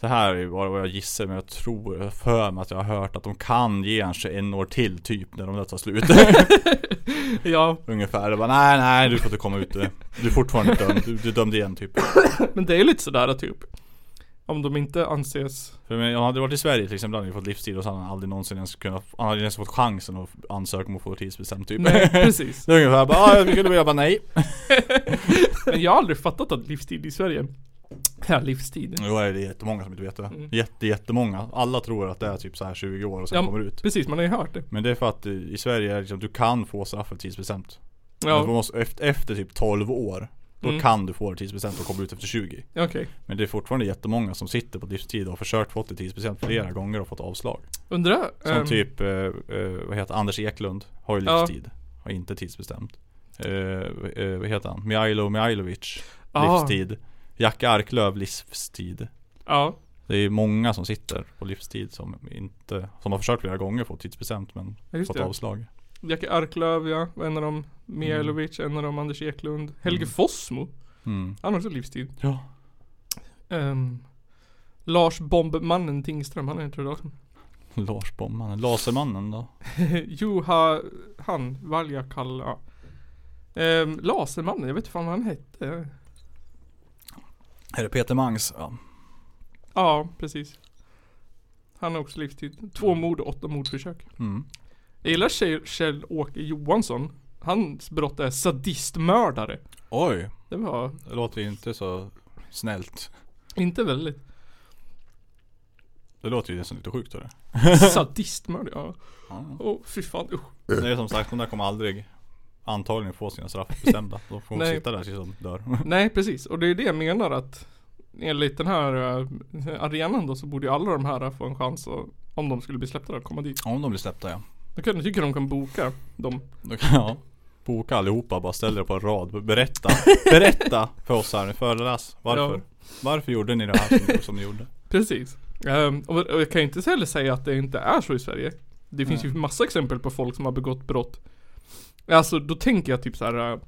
[SPEAKER 4] Det här är ju bara vad jag gissar men jag tror, jag har för mig att jag har hört att de kan ge kanske en år till typ när de där tar slut
[SPEAKER 3] Ja,
[SPEAKER 4] Ungefär, det bara nej nej du får inte komma ut Du du är fortfarande dömd, du, du är dömd igen typ
[SPEAKER 3] men det är lite sådär typ. Om de inte anses...
[SPEAKER 4] För men, om han hade varit i Sverige till exempel hade han ju fått livstid och så hade han aldrig någonsin ens kunnat Han hade ens fått chansen att ansöka om att få tidsbestämt typ
[SPEAKER 3] Nej, precis.
[SPEAKER 4] Det är ungefär bara ah, jag skulle vilja bara nej
[SPEAKER 3] Men jag har aldrig fattat att livstid i Sverige är livstid.
[SPEAKER 4] Då är det jättemånga som inte vet det
[SPEAKER 3] Mm.
[SPEAKER 4] Jätte, jättemånga Alla tror att det är typ så här 20 år och sen
[SPEAKER 3] Ja,
[SPEAKER 4] kommer ut
[SPEAKER 3] Precis, man har ju hört det.
[SPEAKER 4] Men det är för att eh, i i Sverige är det liksom, du kan få straffet tidsbestämt Men du
[SPEAKER 3] Ja,
[SPEAKER 4] måste, efter, efter typ 12 år Då
[SPEAKER 3] Mm.
[SPEAKER 4] kan du få det tidsbestämt och komma ut efter 20
[SPEAKER 3] okej.
[SPEAKER 4] Men det är fortfarande jättemånga som sitter på livstid och har försökt få det tidsbestämt flera gånger och fått avslag
[SPEAKER 3] Undrar...
[SPEAKER 4] Som
[SPEAKER 3] ehm,
[SPEAKER 4] typ, eh, eh, vad heter Anders Eklund Har ju
[SPEAKER 3] Ja.
[SPEAKER 4] livstid Har inte tidsbestämt eh, eh, Vad heter han? Mijailo Mijailovic
[SPEAKER 3] ah,
[SPEAKER 4] Livstid Jack Arklöv livstid
[SPEAKER 3] Ja,
[SPEAKER 4] Det är många som sitter på livstid som inte Som har försökt flera gånger få tidsbestämt men
[SPEAKER 3] ja, just
[SPEAKER 4] fått
[SPEAKER 3] det.
[SPEAKER 4] avslag
[SPEAKER 3] Jackie Arklöv ja, var en av dem. Mijailovic, en av dem. Anders Eklund. Helge
[SPEAKER 4] Mm.
[SPEAKER 3] Fossmo.
[SPEAKER 4] mm.
[SPEAKER 3] Han har också livstid.
[SPEAKER 4] Ja
[SPEAKER 3] Ehm, Lars Bombmannen Tingström, han är inte idag.
[SPEAKER 4] Lars Bomman, Lasermannen då?
[SPEAKER 3] Joha, han, Valjakalla. Ja. Ehm, Lasermannen, jag vet inte fan vad han hette.
[SPEAKER 4] Är det Peter Mangs? Ja.
[SPEAKER 3] Ja, precis. Han har också livstid. Två mord och åtta mordförsök.
[SPEAKER 4] Mm.
[SPEAKER 3] Jag gillar Kjell- Kjell-Åke Johansson. Hans brott är sadistmördare.
[SPEAKER 4] Oj,
[SPEAKER 3] Det var
[SPEAKER 4] det låter ju inte så snällt.
[SPEAKER 3] inte väldigt.
[SPEAKER 4] Det låter ju nästan lite sjukt hörru.
[SPEAKER 3] Sadistmördare, ja.
[SPEAKER 4] Ja.
[SPEAKER 3] Åh, fy fan usch.
[SPEAKER 4] Det är som sagt, de där kommer aldrig antagligen få sina straff bestämda. De får
[SPEAKER 3] Nej.
[SPEAKER 4] sitta där tills de dör.
[SPEAKER 3] Nej precis, och det är det jag menar att enligt den här eh, arenan då så borde ju alla de här få en chans att, om de skulle bli släppta att komma dit.
[SPEAKER 4] Om de blir släppta ja.
[SPEAKER 3] Då kan, jag tycker de kan boka dem.
[SPEAKER 4] Då kan jag boka allihopa, bara ställ er på en rad. Berätta, berätta för oss här nu, föreläs. Varför? Varför gjorde ni det här som, som ni gjorde?
[SPEAKER 3] Precis. Ehm, och, och jag kan ju inte heller säga att det inte är så i Sverige. Det finns
[SPEAKER 4] Nej.
[SPEAKER 3] ju massa exempel på folk som har begått brott. Alltså då tänker jag typ så här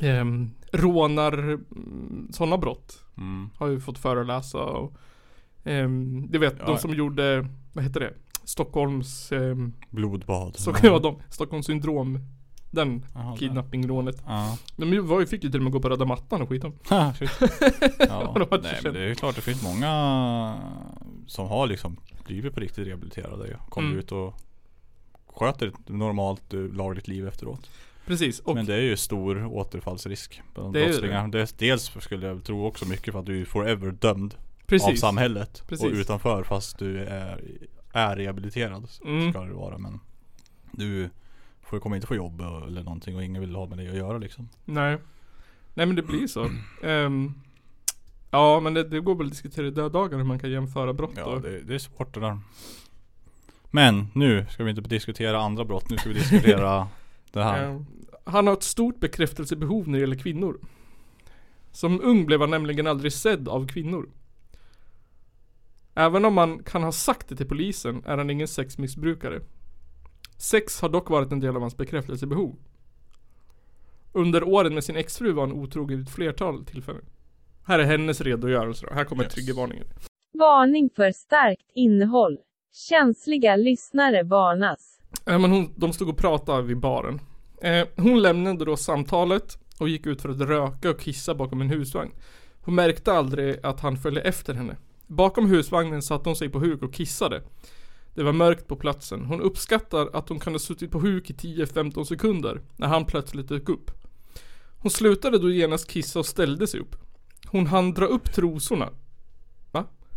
[SPEAKER 3] eh, ehm, rånar, sådana brott.
[SPEAKER 4] Mm.
[SPEAKER 3] Har ju fått föreläsa och ehm, Du vet
[SPEAKER 4] Ja, ja.
[SPEAKER 3] de som gjorde, vad heter det? Stockholms, ehm,
[SPEAKER 4] Blodbad.
[SPEAKER 3] så kan jag de, Stockholms syndrom Den
[SPEAKER 4] Jaha, där.
[SPEAKER 3] kidnappingrånet
[SPEAKER 4] Ja.
[SPEAKER 3] De ju- var ju, fick ju till och med gå på röda mattan och skit om
[SPEAKER 4] ja,
[SPEAKER 3] de har
[SPEAKER 4] nej,
[SPEAKER 3] inte
[SPEAKER 4] men
[SPEAKER 3] känt.
[SPEAKER 4] det är ju klart det finns många som har liksom blivit på riktigt rehabiliterade ju. Kommer
[SPEAKER 3] Mm.
[SPEAKER 4] ut och sköter ett normalt eh, lagligt liv efteråt.
[SPEAKER 3] Precis, och
[SPEAKER 4] Men det är ju stor återfallsrisk bland
[SPEAKER 3] Det är ju
[SPEAKER 4] brottslingar. Det. är- dels skulle jag tro också mycket för att du är forever dömd av
[SPEAKER 3] precis
[SPEAKER 4] samhället och
[SPEAKER 3] Precis.
[SPEAKER 4] utanför fast du är, är rehabiliterad. så
[SPEAKER 3] Mm.
[SPEAKER 4] Ska det vara men du får, kommer inte få jobb och- eller någonting och ingen vill ha med dig att göra liksom.
[SPEAKER 3] Nej Nej men det blir så Ehm, Ja men det, det går väl att diskutera i döddagar hur man kan jämföra brott
[SPEAKER 4] Ja,
[SPEAKER 3] och,
[SPEAKER 4] det, det är svårt det där. Men nu ska vi inte diskutera andra brott, nu ska vi diskutera det här.
[SPEAKER 3] ehm, Han har ett stort bekräftelsebehov när det gäller kvinnor Som ung blev han nämligen aldrig sedd av kvinnor Även om man kan ha sagt det till polisen är han ingen sexmissbrukare Sex har dock varit en del av hans bekräftelsebehov Under åren med sin exfru var han otrogen vid ett flertal tillfällen Här är hennes redogörelse då. här kommer
[SPEAKER 4] Yes.
[SPEAKER 3] triggervarningen
[SPEAKER 2] Varning för starkt innehåll. Känsliga lyssnare varnas.
[SPEAKER 3] Eh, men hon, de stod och pratade vid baren. Eh, hon lämnade då samtalet och gick ut för att röka och kissa bakom en husvagn. Hon märkte aldrig att han följde efter henne. Bakom husvagnen satte hon sig på huk och kissade. Det var mörkt på platsen. Hon uppskattar att hon kunde ha suttit på huk i 10-15 sekunder när han plötsligt dök upp. Hon slutade då genast kissa och ställde sig upp. Hon hann dra upp trosorna.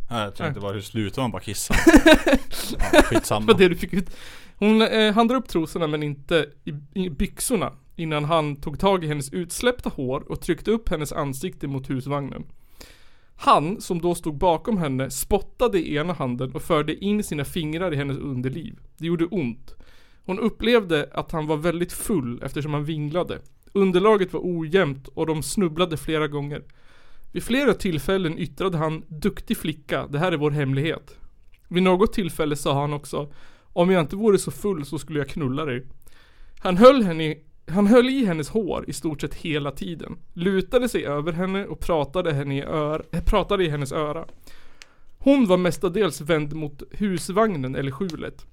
[SPEAKER 4] Nej, jag tänkte bara hur slutar man bara kissa? ja, skitsamma.
[SPEAKER 3] Det var det du fick ut. Hon eh, hann dra upp trosorna men inte i, i byxorna innan han tog tag i hennes utsläppta hår och tryckte upp hennes ansikte mot husvagnen. Han, som då stod bakom henne, spottade i ena handen och förde in sina fingrar i hennes underliv. Det gjorde ont. Hon upplevde att han var väldigt full eftersom han vinglade. Underlaget var ojämnt och de snubblade flera gånger. Vid flera tillfällen yttrade han ”duktig flicka, det här är vår hemlighet”. Vid något tillfälle sa han också ”om jag inte vore så full så skulle jag knulla dig”. Han höll, henne, han höll i hennes hår i stort sett hela tiden, lutade sig över henne och pratade, henne i, ör, äh, pratade i hennes öra. Hon var mestadels vänd mot husvagnen eller skjulet.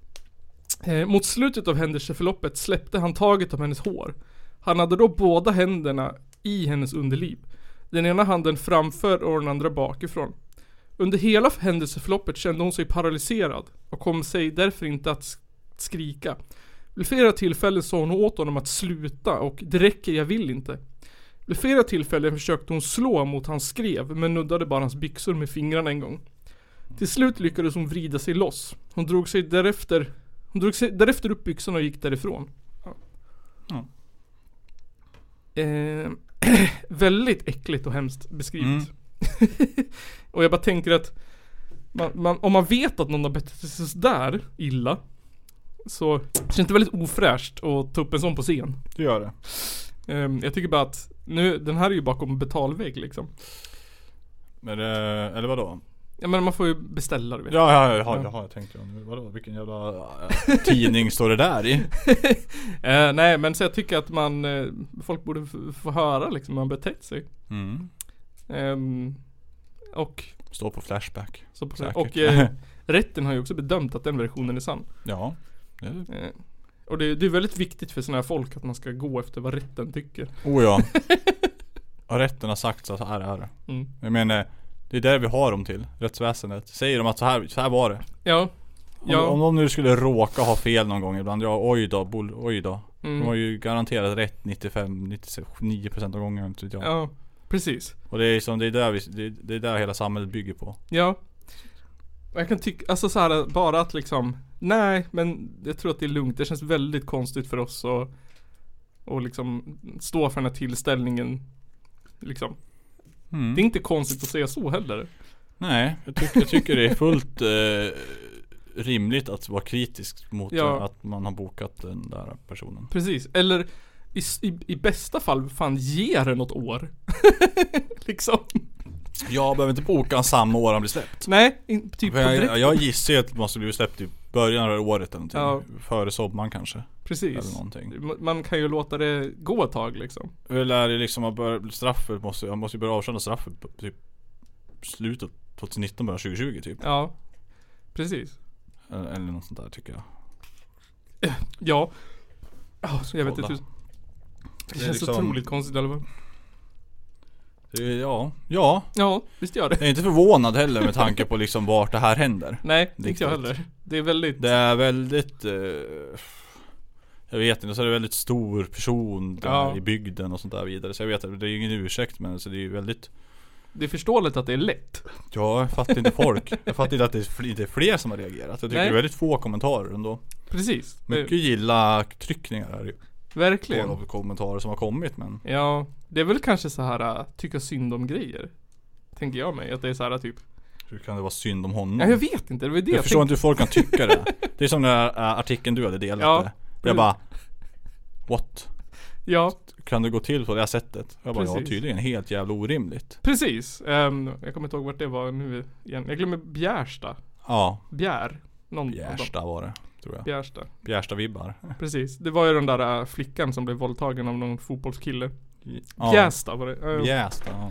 [SPEAKER 3] Eh, mot slutet av händelseförloppet släppte han taget om hennes hår. Han hade då båda händerna i hennes underliv. Den ena handen framför och den andra bakifrån. Under hela händelseförloppet kände hon sig paralyserad och kom sig därför inte att sk- skrika. Vid flera tillfällen sa hon åt honom att sluta och det räcker, jag vill inte. Vid flera tillfällen försökte hon slå mot hans skrev men nuddade bara hans byxor med fingrarna en gång. Till slut lyckades hon vrida sig loss. Hon drog sig därefter, hon drog sig därefter upp byxorna och gick därifrån. Ja.
[SPEAKER 4] Ja.
[SPEAKER 3] Eh, väldigt äckligt och hemskt beskrivet.
[SPEAKER 4] Mm.
[SPEAKER 3] och jag bara tänker att man, man, om man vet att någon har betett sig sådär illa så känns det väldigt ofräscht att ta upp en sån på scen.
[SPEAKER 4] Du gör det.
[SPEAKER 3] Ehm, jag tycker bara att nu, den här är ju bakom betalvägg liksom.
[SPEAKER 4] Men, eh, eller vadå?
[SPEAKER 3] Ja men man får ju beställa du vet.
[SPEAKER 4] Ja, ja, ja, ja, ja jag tänkte jag nu. Vadå? Vilken jävla eh, tidning står det där i?
[SPEAKER 3] Eh, nej men så jag tycker att man, eh, folk borde f- få höra liksom hur man betett sig.
[SPEAKER 4] Mm.
[SPEAKER 3] Ehm, och,
[SPEAKER 4] Står på Flashback.
[SPEAKER 3] så på,
[SPEAKER 4] Säkert.
[SPEAKER 3] och eh, rätten har ju också bedömt att den versionen är sann.
[SPEAKER 4] Ja. Det-
[SPEAKER 3] Eh, och det, det är väldigt viktigt för sådana här folk att man ska gå efter vad rätten tycker.
[SPEAKER 4] Oh ja. Och rätten har sagt så här är det.
[SPEAKER 3] Mm.
[SPEAKER 4] Jag menar, det är där vi har dem till. Rättsväsendet. Säger de att så här, så här var det.
[SPEAKER 3] Ja.
[SPEAKER 4] Om,
[SPEAKER 3] Ja.
[SPEAKER 4] om de nu skulle råka ha fel någon gång ibland, ja oj då, bol, oj då. De har
[SPEAKER 3] Mm.
[SPEAKER 4] ju garanterat rätt 95-99% av gångerna inte vet jag.
[SPEAKER 3] Ja. Precis.
[SPEAKER 4] Och det är som, det är där vi, det, det är där hela samhället bygger på.
[SPEAKER 3] Ja. Och Jag kan tycka, alltså så här bara att liksom Nej men jag tror att det är lugnt. Det känns väldigt konstigt för oss att Och liksom stå för den här tillställningen Liksom.
[SPEAKER 4] Mm.
[SPEAKER 3] Det är inte konstigt att säga så heller.
[SPEAKER 4] Nej, jag, tyck, jag tycker det är fullt eh, rimligt att vara kritisk mot
[SPEAKER 3] Ja.
[SPEAKER 4] att man har bokat den där personen.
[SPEAKER 3] Precis. Eller i, s- i, i bästa fall fan ge det något år. liksom.
[SPEAKER 4] Jag behöver inte boka han samma år han blir släppt.
[SPEAKER 3] Nej, in, typ på direkt.
[SPEAKER 4] Jag, jag gissar ju att man skulle bli släppt i början av året eller någonting.
[SPEAKER 3] Ja.
[SPEAKER 4] Före sommaren kanske. Eller
[SPEAKER 3] Precis.
[SPEAKER 4] någonting.
[SPEAKER 3] Ma- Man kan ju låta det gå ett tag liksom.
[SPEAKER 4] Hur lär det liksom att börja straffet måste, han måste ju börja avtjäna straffet på typ slutet 2019, början 2020 typ.
[SPEAKER 3] Ja. Precis.
[SPEAKER 4] Eller, eller något sånt där tycker jag.
[SPEAKER 3] Ja. Ja, så jag vet
[SPEAKER 4] Kolla.
[SPEAKER 3] inte hur... Det,
[SPEAKER 4] Det är
[SPEAKER 3] känns
[SPEAKER 4] liksom-
[SPEAKER 3] otroligt konstigt i alla fall.
[SPEAKER 4] Det är- Eh, Ja, ja.
[SPEAKER 3] Ja, visst gör det.
[SPEAKER 4] Jag är inte förvånad heller med tanke på liksom vart det här händer.
[SPEAKER 3] Nej,
[SPEAKER 4] Riktigt.
[SPEAKER 3] inte jag heller. Det är väldigt...
[SPEAKER 4] Det är väldigt eh, Jag vet inte, så är det väldigt stor person där
[SPEAKER 3] Ja.
[SPEAKER 4] i bygden och sånt där vidare Så jag vet att det är ju ingen ursäkt men så det är ju väldigt
[SPEAKER 3] Det är förståeligt att det är lätt.
[SPEAKER 4] Ja, jag fattar inte folk Jag fattar inte att det är fl- inte är fler som har reagerat Jag tycker
[SPEAKER 3] Nej.
[SPEAKER 4] det är väldigt få kommentarer ändå
[SPEAKER 3] Precis. Det-
[SPEAKER 4] Mycket gilla tryckningar är det ju på
[SPEAKER 3] Verkligen.
[SPEAKER 4] de kommentarer som har kommit men
[SPEAKER 3] Ja, det är väl kanske så här äh, tycka synd om grejer. Tänker jag mig. Att det är så här typ.
[SPEAKER 4] Hur kan det vara synd om honom?
[SPEAKER 3] Ja, jag vet inte. Det var ju det
[SPEAKER 4] Mm. Jag
[SPEAKER 3] jag,
[SPEAKER 4] förstår
[SPEAKER 3] tänkte.
[SPEAKER 4] inte hur folk kan tycka det Det är som den där eh, artikeln du hade delat
[SPEAKER 3] Ja,
[SPEAKER 4] där. Jag bara What?
[SPEAKER 3] Ja,
[SPEAKER 4] Kan det gå till på det här sättet? Jag bara, ja
[SPEAKER 3] Precis.
[SPEAKER 4] tydligen helt jävla orimligt
[SPEAKER 3] precis. Ehm, jag kommer inte ihåg vart det var nu igen. Jag glömmer Bjärsta.
[SPEAKER 4] Ja,
[SPEAKER 3] Bjär. Någon Mm, av dem.
[SPEAKER 4] Bjärsta var det, tror jag.
[SPEAKER 3] Bjärsta.
[SPEAKER 4] Bjärsta-vibbar.
[SPEAKER 3] Precis. Det var ju den där äh, flickan som blev våldtagen av någon fotbollskille.
[SPEAKER 4] Ja.
[SPEAKER 3] Bjärsta var det. Ehm,
[SPEAKER 4] Bjärsta, ja.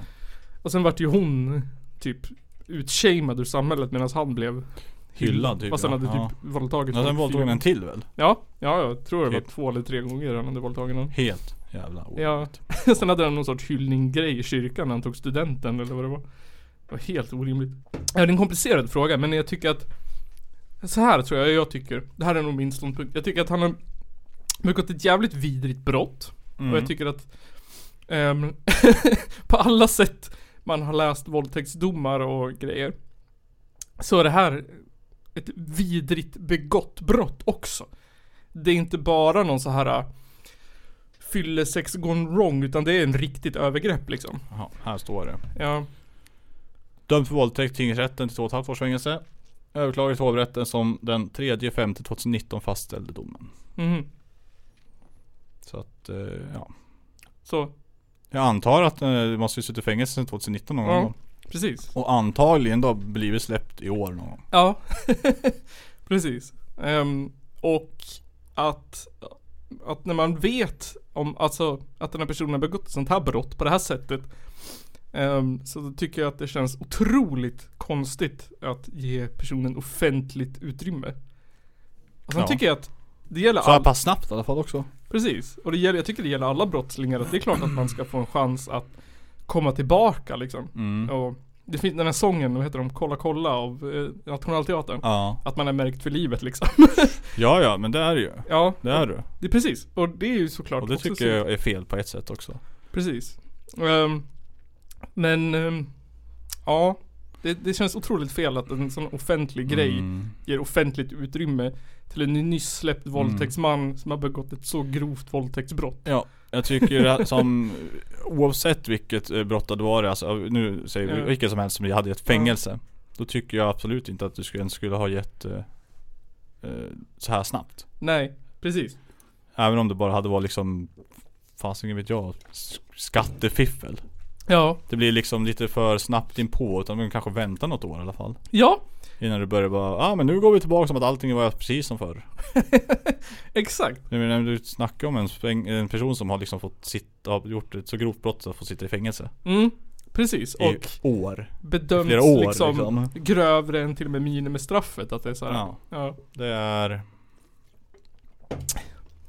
[SPEAKER 3] Och sen vart ju hon typ utshamed ur samhället medan han blev
[SPEAKER 4] Hyllad, typ,
[SPEAKER 3] Fast han
[SPEAKER 4] ja.
[SPEAKER 3] hade typ våldtagit
[SPEAKER 4] Men sen
[SPEAKER 3] folk
[SPEAKER 4] våldtog
[SPEAKER 3] fyra-
[SPEAKER 4] hon en till väl?
[SPEAKER 3] Ja, ja jag tror det var
[SPEAKER 4] Typ.
[SPEAKER 3] två eller tre gånger han hade våldtagit någon.
[SPEAKER 4] Helt jävla o-
[SPEAKER 3] Ja. Sen hade han någon sorts hyllninggrej i kyrkan när han tog studenten eller vad det var. Det var helt orimligt. Ja, det är en komplicerad fråga men jag tycker att så här tror jag jag tycker. Det här är nog min ståndpunkt. Jag tycker att han har begått ett jävligt vidrigt brott.
[SPEAKER 4] Mm.
[SPEAKER 3] Och jag tycker att ehm, på alla sätt man har läst våldtäktsdomar och grejer så är det här ett vidrigt begått brott också. Det är inte bara någon så här äh, fyllesex gone wrong utan det är en riktigt övergrepp liksom.
[SPEAKER 4] Jaha, här står det.
[SPEAKER 3] Ja,
[SPEAKER 4] Dömd för våldtäkt, tingsrätten till två och ett halvt års fängelse. Överklagad till hovrätten som den 3 femte 2019 fastställde domen.
[SPEAKER 3] mhm.
[SPEAKER 4] Så att, eh, ja.
[SPEAKER 3] Så
[SPEAKER 4] Jag antar att eh, du måste ju suttit i fängelse sedan 2019 någon
[SPEAKER 3] Ja.
[SPEAKER 4] gång.
[SPEAKER 3] Precis.
[SPEAKER 4] Och antagligen då blivit släppt i år någon gång.
[SPEAKER 3] Ja, precis. Ehm, och att, att när man vet om, alltså att den här personen har begått ett sånt här brott på det här sättet. ehm, så tycker jag att det känns otroligt konstigt att ge personen offentligt utrymme. Och sen
[SPEAKER 4] Ja.
[SPEAKER 3] tycker jag att det gäller
[SPEAKER 4] Så här
[SPEAKER 3] all,
[SPEAKER 4] pass snabbt i alla fall också.
[SPEAKER 3] precis. Och det gäller, jag tycker det gäller alla brottslingar att det är klart att man ska få en chans att komma tillbaka liksom.
[SPEAKER 4] Mm.
[SPEAKER 3] Och det finns den här sången, vad heter de? Kolla kolla av eh, Nationalteatern.
[SPEAKER 4] Ja.
[SPEAKER 3] Att man är märkt för livet liksom.
[SPEAKER 4] Ja ja, men det är det ju.
[SPEAKER 3] ja,
[SPEAKER 4] Det är du.
[SPEAKER 3] det är precis. Och det är ju såklart
[SPEAKER 4] Och det
[SPEAKER 3] också
[SPEAKER 4] tycker
[SPEAKER 3] synd.
[SPEAKER 4] jag är fel på ett sätt också.
[SPEAKER 3] Precis. Ehm, men, ehm, ja. Det, det känns otroligt fel att en sån offentlig grej
[SPEAKER 4] Mm.
[SPEAKER 3] ger offentligt utrymme till en nyss släppt våldtäktsman som har begått ett så grovt våldtäktsbrott.
[SPEAKER 4] Ja, jag tycker att som oavsett vilket eh, brott det var, alltså nu säger vi
[SPEAKER 3] Ja.
[SPEAKER 4] vilket som helst som jag hade gett fängelse. Då tycker jag absolut inte att du skulle, ens skulle ha gett eh, eh, så här snabbt.
[SPEAKER 3] Nej, precis.
[SPEAKER 4] Även om det bara hade varit liksom, fasiken vet jag, s- skattefiffel.
[SPEAKER 3] Ja.
[SPEAKER 4] Det blir liksom lite för snabbt inpå, utan man kanske väntar något år i alla fall.
[SPEAKER 3] Ja,
[SPEAKER 4] Innan du börjar bara, ja ah, men nu går vi tillbaka som att allting var precis som förr.
[SPEAKER 3] exakt.
[SPEAKER 4] Jag menar, du snackar om en, späng- en person som har liksom fått sitta, har gjort ett så grovt brott att få sitta i fängelse.
[SPEAKER 3] Mm, precis.
[SPEAKER 4] I
[SPEAKER 3] Och
[SPEAKER 4] år.
[SPEAKER 3] bedöms
[SPEAKER 4] flera år,
[SPEAKER 3] liksom,
[SPEAKER 4] liksom.
[SPEAKER 3] grövre än till och med minimistraffet. Att det är så här,
[SPEAKER 4] Ja.
[SPEAKER 3] ja.
[SPEAKER 4] Det är...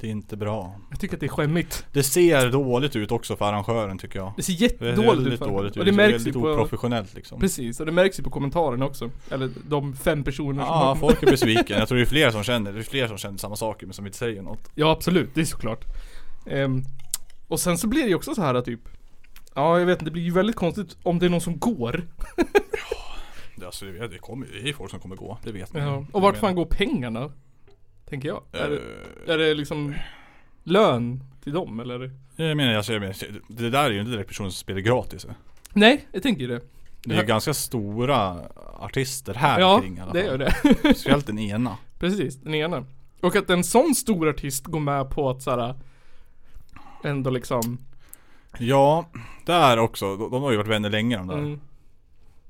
[SPEAKER 4] Det är inte bra.
[SPEAKER 3] Jag tycker att det är skämmigt.
[SPEAKER 4] Det ser dåligt ut också för arrangören tycker jag.
[SPEAKER 3] Det ser
[SPEAKER 4] Det är
[SPEAKER 3] jättedåligt
[SPEAKER 4] väldigt
[SPEAKER 3] ut. för-
[SPEAKER 4] dåligt ut.
[SPEAKER 3] Och det märks ju
[SPEAKER 4] väldigt
[SPEAKER 3] på...
[SPEAKER 4] oprofessionellt liksom.
[SPEAKER 3] Precis, och det märks ju på kommentarerna också. Eller de fem personer som
[SPEAKER 4] Ja, folk är besvikna. Jag tror det är fler som känner, det är fler som känner samma saker men som inte säger något.
[SPEAKER 3] Ja absolut, det är såklart. Ehm, och sen så blir det ju också så här att typ Ja jag vet inte, det blir ju väldigt konstigt om det är någon som går.
[SPEAKER 4] Det, alltså, det, det, kommer, det är folk som kommer gå, det vet
[SPEAKER 3] Och vart fan går pengarna? Tänker jag.
[SPEAKER 4] Eh.
[SPEAKER 3] Är, det,
[SPEAKER 4] går...
[SPEAKER 3] är det liksom lön till dem eller?
[SPEAKER 4] Jag menar, alltså, jag menar, det där är ju inte direkt personer som spelar gratis. eh.
[SPEAKER 3] Nej, jag tänker ju det.
[SPEAKER 4] Det är ju ganska stora artister här
[SPEAKER 3] Ja,
[SPEAKER 4] kring i alla
[SPEAKER 3] det är
[SPEAKER 4] fall.
[SPEAKER 3] det.
[SPEAKER 4] Speciellt den ena.
[SPEAKER 3] Precis, den ena. Och att en sån stor artist går med på att såhär Ändå liksom
[SPEAKER 4] Ja, där också. De, de har ju varit vänner länge de där.
[SPEAKER 3] mm,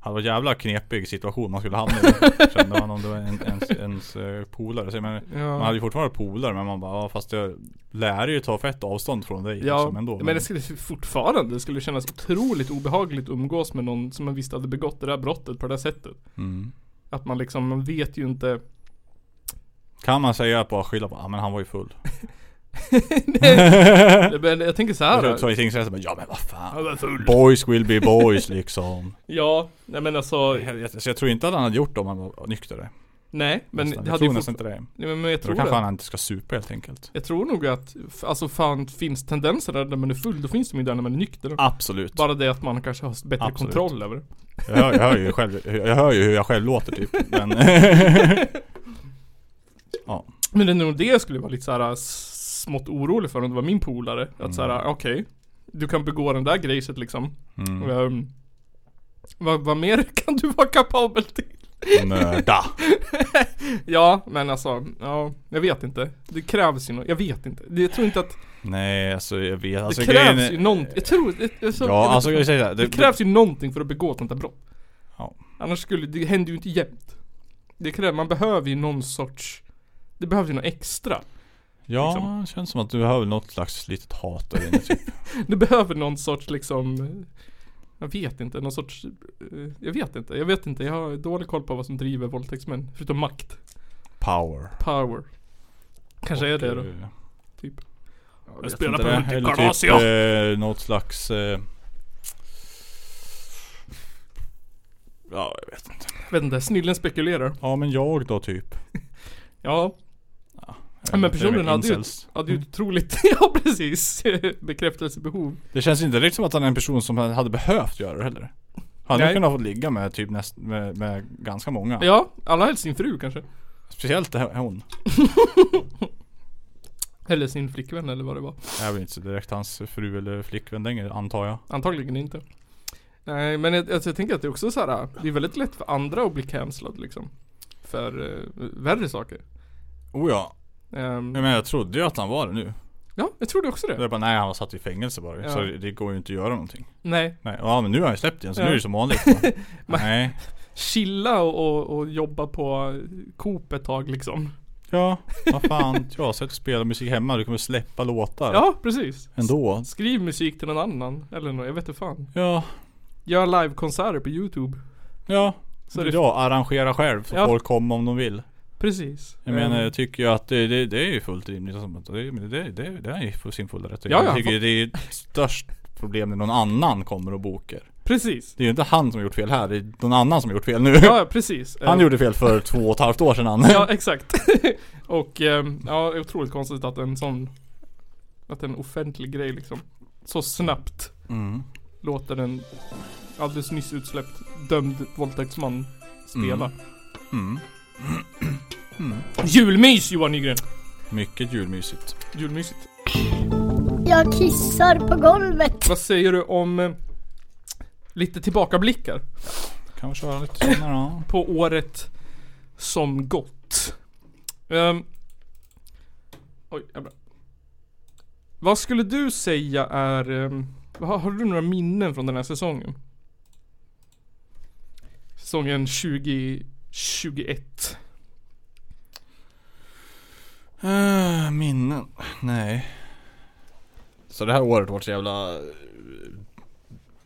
[SPEAKER 4] Han var jävla knepig situation man skulle hamna i Kände man om det var en, ens, ens eh, polare så jag menar, Man hade
[SPEAKER 3] ja.
[SPEAKER 4] ju fortfarande polare men man bara ja, fast jag lär ju ta fett avstånd från dig
[SPEAKER 3] Ja,
[SPEAKER 4] liksom ändå
[SPEAKER 3] men det skulle fortfarande det skulle kännas otroligt obehagligt att umgås med någon som man visste hade begått det där brottet på det där sättet.
[SPEAKER 4] mm.
[SPEAKER 3] Att man liksom, man vet ju inte
[SPEAKER 4] Kan man säga på skylla på, ja men han var ju full
[SPEAKER 3] Men jag tänker så här.
[SPEAKER 4] Jag
[SPEAKER 3] då.
[SPEAKER 4] tror i tingsrätten bara, ja men vad fan
[SPEAKER 3] var full.
[SPEAKER 4] Boys will be boys liksom
[SPEAKER 3] Ja, nej men alltså
[SPEAKER 4] Så jag tror inte att han hade gjort det om han var nykter
[SPEAKER 3] Nej men
[SPEAKER 4] nästan.
[SPEAKER 3] det
[SPEAKER 4] Jag
[SPEAKER 3] hade
[SPEAKER 4] tror
[SPEAKER 3] ju
[SPEAKER 4] nästan
[SPEAKER 3] fort...
[SPEAKER 4] inte det
[SPEAKER 3] Nej, men jag
[SPEAKER 4] Då
[SPEAKER 3] tror
[SPEAKER 4] kanske
[SPEAKER 3] det.
[SPEAKER 4] han inte ska supa helt enkelt
[SPEAKER 3] Jag tror nog att, f- alltså fan finns tendenser där när man är full, då finns de ju där när man är nykter.
[SPEAKER 4] Absolut
[SPEAKER 3] Bara det att man kanske har bättre
[SPEAKER 4] Absolut.
[SPEAKER 3] kontroll över det.
[SPEAKER 4] jag hör, jag, hör ju själv, jag hör ju hur jag själv låter typ men
[SPEAKER 3] Men det är nog det jag skulle vara lite såhär smått orolig för om det var min polare. Att
[SPEAKER 4] Mm.
[SPEAKER 3] såhär, okej. du kan begå den där grejset liksom.
[SPEAKER 4] mm.
[SPEAKER 3] Ehm, vad, vad mer kan du vara kapabel till?
[SPEAKER 4] Nörda
[SPEAKER 3] Ja, men alltså, ja, jag vet inte. Det krävs ju något, jag vet inte. Det- Jag tror inte att,
[SPEAKER 4] Nej alltså jag vet alltså,
[SPEAKER 3] det
[SPEAKER 4] grejen
[SPEAKER 3] krävs
[SPEAKER 4] är-
[SPEAKER 3] ju någonting. Jag tror, det, jag, så, jag
[SPEAKER 4] Ja
[SPEAKER 3] vet
[SPEAKER 4] alltså
[SPEAKER 3] inte.
[SPEAKER 4] jag säger såhär,
[SPEAKER 3] det, krävs ju någonting för att begå ett sånt här brott.
[SPEAKER 4] Ja.
[SPEAKER 3] Annars skulle, det händer ju inte jämt. Det krävs, man behöver ju någon sorts, det behövs ju något extra.
[SPEAKER 4] Ja,
[SPEAKER 3] liksom.
[SPEAKER 4] det känns som att du har väl något slags litet hat där inne typ.
[SPEAKER 3] Det behöver någon sorts liksom Jag vet inte, någon sorts eh, Jag vet inte, jag vet inte, jag har dålig koll på vad som driver våldtäktsmän Förutom makt,
[SPEAKER 4] Power
[SPEAKER 3] power Kanske är det då
[SPEAKER 4] Eh,
[SPEAKER 3] Typ.
[SPEAKER 4] jag vet inte det. Eller Typ, eh, något slags... Eh... Ja, jag vet inte.
[SPEAKER 3] Jag vet inte, snillen spekulerar
[SPEAKER 4] Ja men jag då typ.
[SPEAKER 3] Ja,
[SPEAKER 4] Jag
[SPEAKER 3] Men
[SPEAKER 4] vet inte,
[SPEAKER 3] personen
[SPEAKER 4] med
[SPEAKER 3] hade ju-
[SPEAKER 4] incels.
[SPEAKER 3] ja det är ju ett otroligt Ja precis, bekräftelsebehov
[SPEAKER 4] Det känns inte direkt som att han är en person som hade behövt göra det heller. Han hade
[SPEAKER 3] Nej.
[SPEAKER 4] kunnat få ligga med typ näst, med, med ganska många.
[SPEAKER 3] Ja, allra helst sin fru kanske
[SPEAKER 4] Speciellt det här- hon.
[SPEAKER 3] Eller sin flickvän eller vad det var
[SPEAKER 4] Det är väl inte så direkt hans fru eller flickvän längre antar jag.
[SPEAKER 3] Antagligen inte Nej men jag, alltså, jag tänker att det är också så här. Det är väldigt lätt för andra att bli cancellad liksom För eh, värre saker
[SPEAKER 4] Oh ja.
[SPEAKER 3] Ehm,
[SPEAKER 4] Mm. Jag menar jag trodde ju att han var det nu.
[SPEAKER 3] Ja, jag trodde också
[SPEAKER 4] Då
[SPEAKER 3] det.
[SPEAKER 4] jag bara, nej han satt i fängelse bara.
[SPEAKER 3] Ja.
[SPEAKER 4] Så det det går ju inte att göra någonting.
[SPEAKER 3] Nej,
[SPEAKER 4] Nej, ja men nu har jag släppt igen så
[SPEAKER 3] Ja.
[SPEAKER 4] nu är det som vanligt. Bara,
[SPEAKER 3] Man-
[SPEAKER 4] nej.
[SPEAKER 3] chilla och, och, och jobba på eh, Coop ett tag liksom.
[SPEAKER 4] Ja, vad fan. Jag sätter och spelar musik hemma. Du kommer släppa låtar.
[SPEAKER 3] Ja, precis.
[SPEAKER 4] Ändå.
[SPEAKER 3] Skriv musik till någon annan, eller något, jag vet inte fan.
[SPEAKER 4] Ja.
[SPEAKER 3] Gör livekonserter på youtube.
[SPEAKER 4] Ja.
[SPEAKER 3] Så
[SPEAKER 4] Så
[SPEAKER 3] det-
[SPEAKER 4] jag arrangerar själv så
[SPEAKER 3] Ja.
[SPEAKER 4] folk kommer om de vill.
[SPEAKER 3] Precis. Ehm,
[SPEAKER 4] Jag menar jag tycker ju att det, det, det är ju fullt rimligt. och sånt. Det, men det, det, det är ju på sin fulla rätt.
[SPEAKER 3] Ja, ja,
[SPEAKER 4] jag tycker
[SPEAKER 3] fa-
[SPEAKER 4] det är störst problem när någon annan kommer och bokar.
[SPEAKER 3] Precis.
[SPEAKER 4] Det är ju inte han som har gjort fel här. Det är någon annan som har gjort fel nu.
[SPEAKER 3] Ja, ja, precis.
[SPEAKER 4] Han
[SPEAKER 3] Eh,
[SPEAKER 4] gjorde fel för två och ett halvt år sedan han.
[SPEAKER 3] Ja, exakt. och ehm, ja, det är otroligt konstigt att en sån Att en offentlig grej liksom Så snabbt
[SPEAKER 4] Mm.
[SPEAKER 3] låter en alldeles nyss utsläppt dömd våldtäktsman spela.
[SPEAKER 4] Mm.
[SPEAKER 3] Julmys Johan Nygren!
[SPEAKER 4] Mycket julmysigt.
[SPEAKER 3] Julmysigt.
[SPEAKER 5] Jag kissar på golvet.
[SPEAKER 3] Vad säger du om eh, lite tillbakablickar
[SPEAKER 4] Kan vi köra lite senare då?
[SPEAKER 3] på året som gått? Ehm, oj, jag brann. Vad skulle du säga är... ehm, har, har du några minnen från den här säsongen? Säsongen 2021. Ah,
[SPEAKER 4] Eh, minnen? Nej. Så det här året vart så jävla... eh,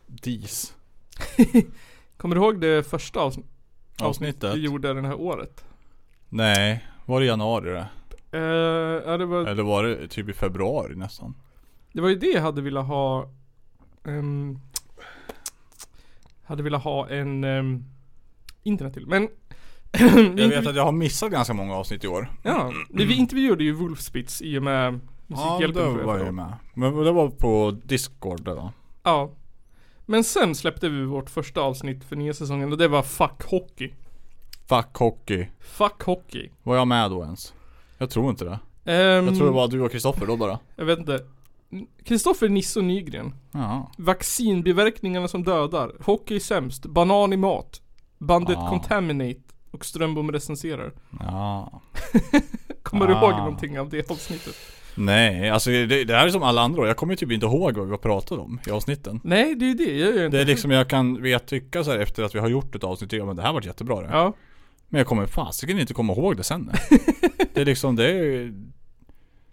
[SPEAKER 4] Dis.
[SPEAKER 3] Kommer du ihåg det första avsn- avsnittet
[SPEAKER 4] Avsnittet?
[SPEAKER 3] vi gjorde det här året?
[SPEAKER 4] Nej. Var det i januari det?
[SPEAKER 3] Eh, ja, det, var,
[SPEAKER 4] Eller var det typ i februari nästan?
[SPEAKER 3] det var ju det jag hade velat ha ehm, Hade velat ha en ehm, internet till, men vi
[SPEAKER 4] Jag vet
[SPEAKER 3] intervju-
[SPEAKER 4] att jag har missat ganska många avsnitt i år.
[SPEAKER 3] Ja, det, vi intervjuade ju Wolfspitz i och med
[SPEAKER 4] Ja,
[SPEAKER 3] Musikhjälpen
[SPEAKER 4] då
[SPEAKER 3] tror jag.
[SPEAKER 4] var jag med. Men det var på Discord då.
[SPEAKER 3] Ja Men sen släppte vi vårt första avsnitt för nya säsongen och det var Fuck Hockey
[SPEAKER 4] Fuck hockey.
[SPEAKER 3] Fuck Hockey
[SPEAKER 4] Var jag med då ens? Jag tror inte det.
[SPEAKER 3] Ehm,
[SPEAKER 4] Jag tror det var du och Kristoffer då bara.
[SPEAKER 3] jag vet inte Kristoffer Nisse Nygren
[SPEAKER 4] Ja.
[SPEAKER 3] Vaccinbiverkningarna som dödar. Hockey är sämst. Banan i mat. Bandet
[SPEAKER 4] Ah.
[SPEAKER 3] Contaminate. Och Strömbom recenserar.
[SPEAKER 4] Ja.
[SPEAKER 3] Kommer du
[SPEAKER 4] Ah.
[SPEAKER 3] ihåg någonting av det avsnittet?
[SPEAKER 4] Nej, alltså det, det här är som alla andra år. Jag kommer ju typ inte ihåg vad vi har pratat om i avsnitten.
[SPEAKER 3] Nej, det är ju det. Jag gör inte.
[SPEAKER 4] Det är liksom jag kan vet tycka så här efter att vi har gjort ett avsnitt, ja men det här varit jättebra det.
[SPEAKER 3] Ja.
[SPEAKER 4] Men jag kommer fasiken inte komma ihåg det sen. det är liksom, det är,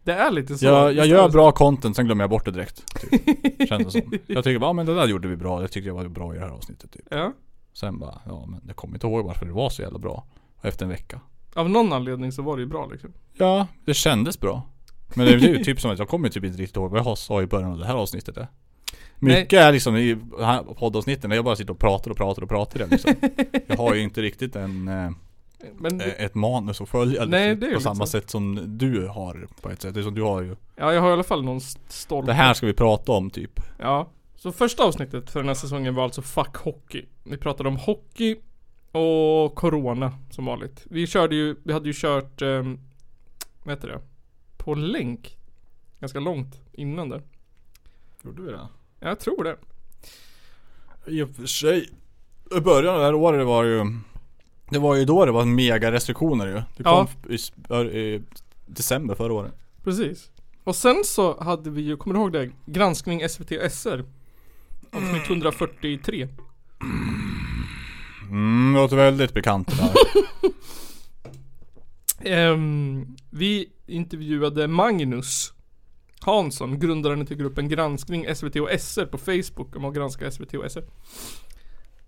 [SPEAKER 3] Det är lite så.
[SPEAKER 4] jag, jag
[SPEAKER 3] Visst är
[SPEAKER 4] gör
[SPEAKER 3] det
[SPEAKER 4] bra content, sen glömmer jag bort det direkt. Typ. Känns det som. Jag tycker bara, ja, men det där gjorde vi bra, det tyckte jag var bra i det här avsnittet typ.
[SPEAKER 3] så. Ja.
[SPEAKER 4] Sen bara, ja men jag kommer inte ihåg varför det var så jävla bra. Efter en vecka.
[SPEAKER 3] Av någon anledning så var det ju bra liksom.
[SPEAKER 4] Ja, det kändes bra. Men det är ju typ som att jag kommer typ inte riktigt ihåg vad jag sa i början av det här avsnittet. är. Mycket är liksom i de här poddavsnitten där jag bara sitter och pratar och pratar och pratar. i det Liksom. Jag har ju inte riktigt en, eh,
[SPEAKER 3] Men det,
[SPEAKER 4] ett manus att följa
[SPEAKER 3] Nej,
[SPEAKER 4] liksom,
[SPEAKER 3] det är ju
[SPEAKER 4] på samma
[SPEAKER 3] lite så.
[SPEAKER 4] sätt som du har på ett sätt. Det är som du har ju,
[SPEAKER 3] ja, jag har i alla fall någon st- storm.
[SPEAKER 4] det här ska vi prata om typ.
[SPEAKER 3] Ja. Så första avsnittet för den här säsongen var alltså Fuck Hockey. Vi pratade om hockey och corona som vanligt. Vi körde ju, vi hade ju kört, ehm, vad heter det? På länk. Ganska långt innan där.
[SPEAKER 4] Gjorde vi det?
[SPEAKER 3] Jag tror det.
[SPEAKER 4] I och för sig. I början av det här året var ju Det var ju då det var mega restriktioner ju. Det
[SPEAKER 3] Ja.
[SPEAKER 4] kom i, s- i december förra året.
[SPEAKER 3] Precis. Och sen så hade vi ju, kommer du ihåg det? Granskning SVT SR. Avsnitt 143.
[SPEAKER 4] Mm, det låter väldigt bekant det där.
[SPEAKER 3] Ehm, vi intervjuade Magnus Hansson, grundaren till gruppen Granskning SVT och SR på Facebook om att granska SVT och SR.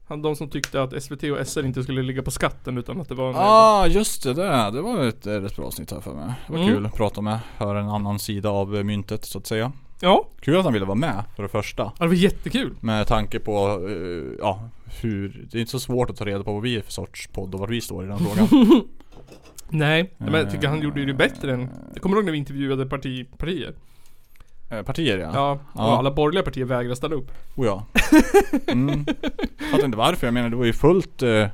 [SPEAKER 3] Han, de som tyckte att SVT och SR inte skulle ligga på skatten utan att det var en...
[SPEAKER 4] ah, just det där. Det var ett eh, rätt bra avsnitt här för mig. Det var
[SPEAKER 3] Mm.
[SPEAKER 4] kul att prata med. Höra en annan sida av eh, myntet så att säga.
[SPEAKER 3] Ja,
[SPEAKER 4] Kul att han ville vara med för det första.
[SPEAKER 3] det var jättekul.
[SPEAKER 4] Med tanke på, eh, ja, hur, det är inte så svårt att ta reda på vad vi är för sorts podd och var vi står i den frågan.
[SPEAKER 3] Nej, men jag tycker han gjorde ju det bättre än... Jag kommer ihåg när vi intervjuade parti, partier.
[SPEAKER 4] Eh, Partier ja.
[SPEAKER 3] Ja, och
[SPEAKER 4] Ja.
[SPEAKER 3] alla borgerliga partier vägrade ställa upp.
[SPEAKER 4] Oh, ja. Mm. Fattar inte varför. Jag menar det var ju fullt eh,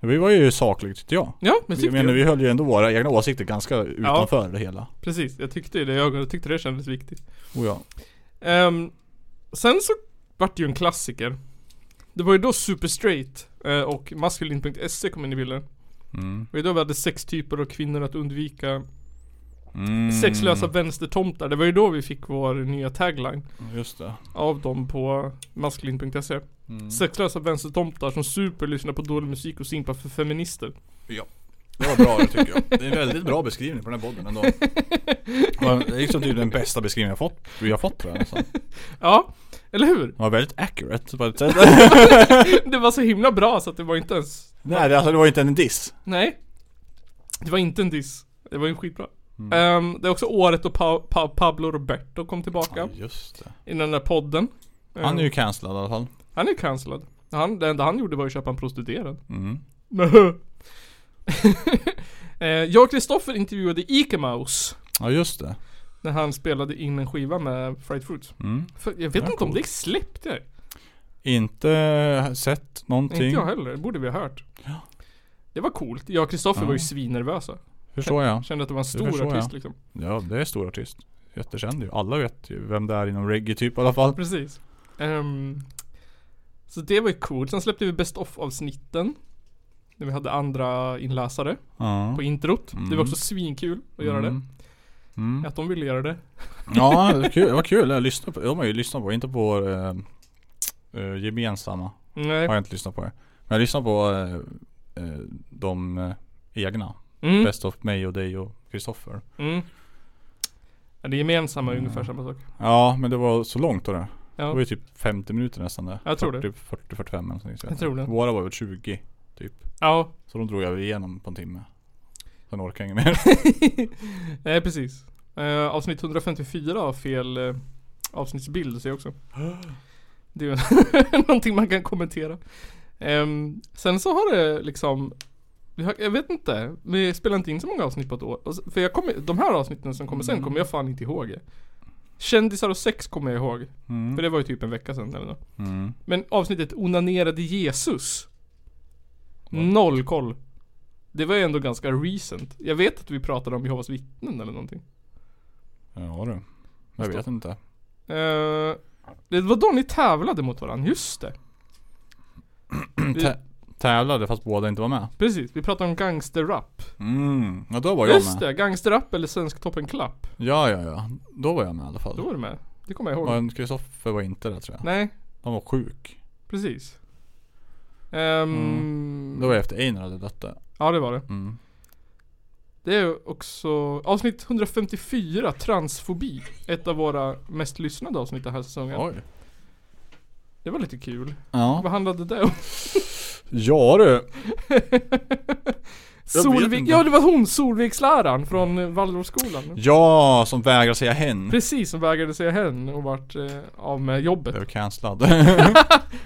[SPEAKER 4] Vi var ju sakligt tyckte jag.
[SPEAKER 3] Ja, men
[SPEAKER 4] Jag
[SPEAKER 3] tyckte
[SPEAKER 4] menar
[SPEAKER 3] jag.
[SPEAKER 4] vi höll ju ändå våra egna åsikter ganska utanför det hela.
[SPEAKER 3] Precis, jag tyckte ju det. Jag tyckte det kändes viktigt.
[SPEAKER 4] Oh, ja.
[SPEAKER 3] Ehm, sen så vart det ju en klassiker. Det var ju då Super Straight eh, och maskulin.se E kom in i bilden.
[SPEAKER 4] Mm.
[SPEAKER 3] Och då vi hade sex typer av kvinnor att undvika
[SPEAKER 4] Mm,
[SPEAKER 3] Sexlösa vänstertomtar. Det var ju då vi fick vår nya tagline
[SPEAKER 4] Mm, Just det.
[SPEAKER 3] av dem på maskulin.se. E. Sexlösa vänstertomtar som super lyssnar på dålig musik och simpar för feminister.
[SPEAKER 4] Det var bra det tycker jag. Det är en väldigt bra beskrivning på den här podden ändå. Det är liksom typ den bästa beskrivningen jag fått, vi har fått tror jag nästan.
[SPEAKER 3] Ja, eller hur?
[SPEAKER 4] Den var väldigt accurate på ett sätt.
[SPEAKER 3] Det var så himla bra så att det var inte ens
[SPEAKER 4] Nej det, alltså, det var inte en diss.
[SPEAKER 3] Nej Det var inte en diss Det var ju skitbra
[SPEAKER 4] Mm.
[SPEAKER 3] Ehm, Det är också året då pa pa Pablo Roberto kom tillbaka
[SPEAKER 4] Just det.
[SPEAKER 3] I den där podden Ehm,
[SPEAKER 4] Han är ju cancellad i alla fall.
[SPEAKER 3] Han är cancellad han, Det enda han gjorde var ju att köpa en prostituerad
[SPEAKER 4] Mm.
[SPEAKER 3] Eh, Jag och Kristoffer intervjuade Ike Mouse
[SPEAKER 4] Ja just det.
[SPEAKER 3] När han spelade in en skiva med Fried Fruits
[SPEAKER 4] Mm.
[SPEAKER 3] För Jag vet inte om det släppte
[SPEAKER 4] Inte sett någonting.
[SPEAKER 3] Inte jag heller, det borde vi ha hört Det var coolt, jag och Kristoffer var ju svinnervösa
[SPEAKER 4] Förstår jag.
[SPEAKER 3] Kände att det var en stor
[SPEAKER 4] förstår
[SPEAKER 3] artist
[SPEAKER 4] jag.
[SPEAKER 3] liksom
[SPEAKER 4] Ja det är stor artist. Jättekänd ju. Alla vet ju vem det är inom reggae typ i alla fall.
[SPEAKER 3] Precis. Ehm, så det var ju coolt. Sen släppte vi Best of-avsnitten. När vi hade andra inläsare
[SPEAKER 4] Ja.
[SPEAKER 3] på introt. Det var
[SPEAKER 4] Mm.
[SPEAKER 3] också svinkul att göra det.
[SPEAKER 4] Mm. Mm.
[SPEAKER 3] Att de ville göra det.
[SPEAKER 4] Ja, det var kul. Det var kul. Jag lyssnade på, de har ju lyssnat på, inte på vår eh, eh, gemensamma.
[SPEAKER 3] Nej.
[SPEAKER 4] Har jag inte lyssnat på det. Men jag lyssnar på eh, eh, de eh, egna.
[SPEAKER 3] Mm.
[SPEAKER 4] Best of mig och dig och Kristoffer.
[SPEAKER 3] Mm. Ja, det gemensamma
[SPEAKER 4] Mm.
[SPEAKER 3] är ungefär samma sak.
[SPEAKER 4] Ja, men det var så långt då det. Det var
[SPEAKER 3] Ja.
[SPEAKER 4] ju typ 50 minuter nästan det.
[SPEAKER 3] Jag tror det.
[SPEAKER 4] 40-45 eller någonting.
[SPEAKER 3] Jag tror det.
[SPEAKER 4] Våra var väl 20 typ.
[SPEAKER 3] ja.
[SPEAKER 4] Så de drog jag igenom på en timme. Sen orkar jag inget mer.
[SPEAKER 3] Nej, precis. Eh, avsnitt 154 har fel eh, avsnittsbild ser jag också. Det är ju någonting man kan kommentera. Ehm, sen så har det liksom vi har- jag vet inte, vi spelar inte in så många avsnitt på ett år. Och s- För jag kommer, de här avsnitten som kommer sen kommer jag fan inte ihåg. Kändisar och sex kommer jag ihåg. För det var ju typ en vecka sedan eller nåt.
[SPEAKER 4] Mm.
[SPEAKER 3] Men avsnittet Onanerade Jesus. Noll koll. Det var ju ändå ganska recent. Jag vet att vi pratade om Jehovas vittnen eller någonting.
[SPEAKER 4] Ja du. Jag vet inte.
[SPEAKER 3] Eh, det var då ni tävlade mot varandra, just det. Vi,
[SPEAKER 4] Tä- tävlade fast båda inte var med.
[SPEAKER 3] precis, vi pratade om gangsterrap.
[SPEAKER 4] Mm. Ja då var jag
[SPEAKER 3] Just
[SPEAKER 4] med.
[SPEAKER 3] det, gangsterrap eller Svensktoppen klapp.
[SPEAKER 4] Ja, ja, ja. Då var jag med i alla fall.
[SPEAKER 3] Då var du med. Det kommer jag ihåg.
[SPEAKER 4] Men Kristoffer var inte där tror jag.
[SPEAKER 3] Nej,
[SPEAKER 4] Han var sjuk.
[SPEAKER 3] precis. Ehm,
[SPEAKER 4] Det var efter Einar hade dött där.
[SPEAKER 3] Ja det var det.
[SPEAKER 4] Mm.
[SPEAKER 3] Det är ju också avsnitt 154, transfobi. Ett av våra mest lyssnade avsnitt den här säsongen.
[SPEAKER 4] Oj.
[SPEAKER 3] Det var lite kul.
[SPEAKER 4] Ja.
[SPEAKER 3] Vad handlade det om?
[SPEAKER 4] Ja du. vet
[SPEAKER 3] Solvik,
[SPEAKER 4] inte.
[SPEAKER 3] ja det var hon, Solviksläraren från eh,
[SPEAKER 4] Mm.
[SPEAKER 3] Waldorfskolan.
[SPEAKER 4] Ja, som vägrar säga hen.
[SPEAKER 3] Precis, som vägrade säga hen och vart eh, av med jobbet.
[SPEAKER 4] Blev cancellad.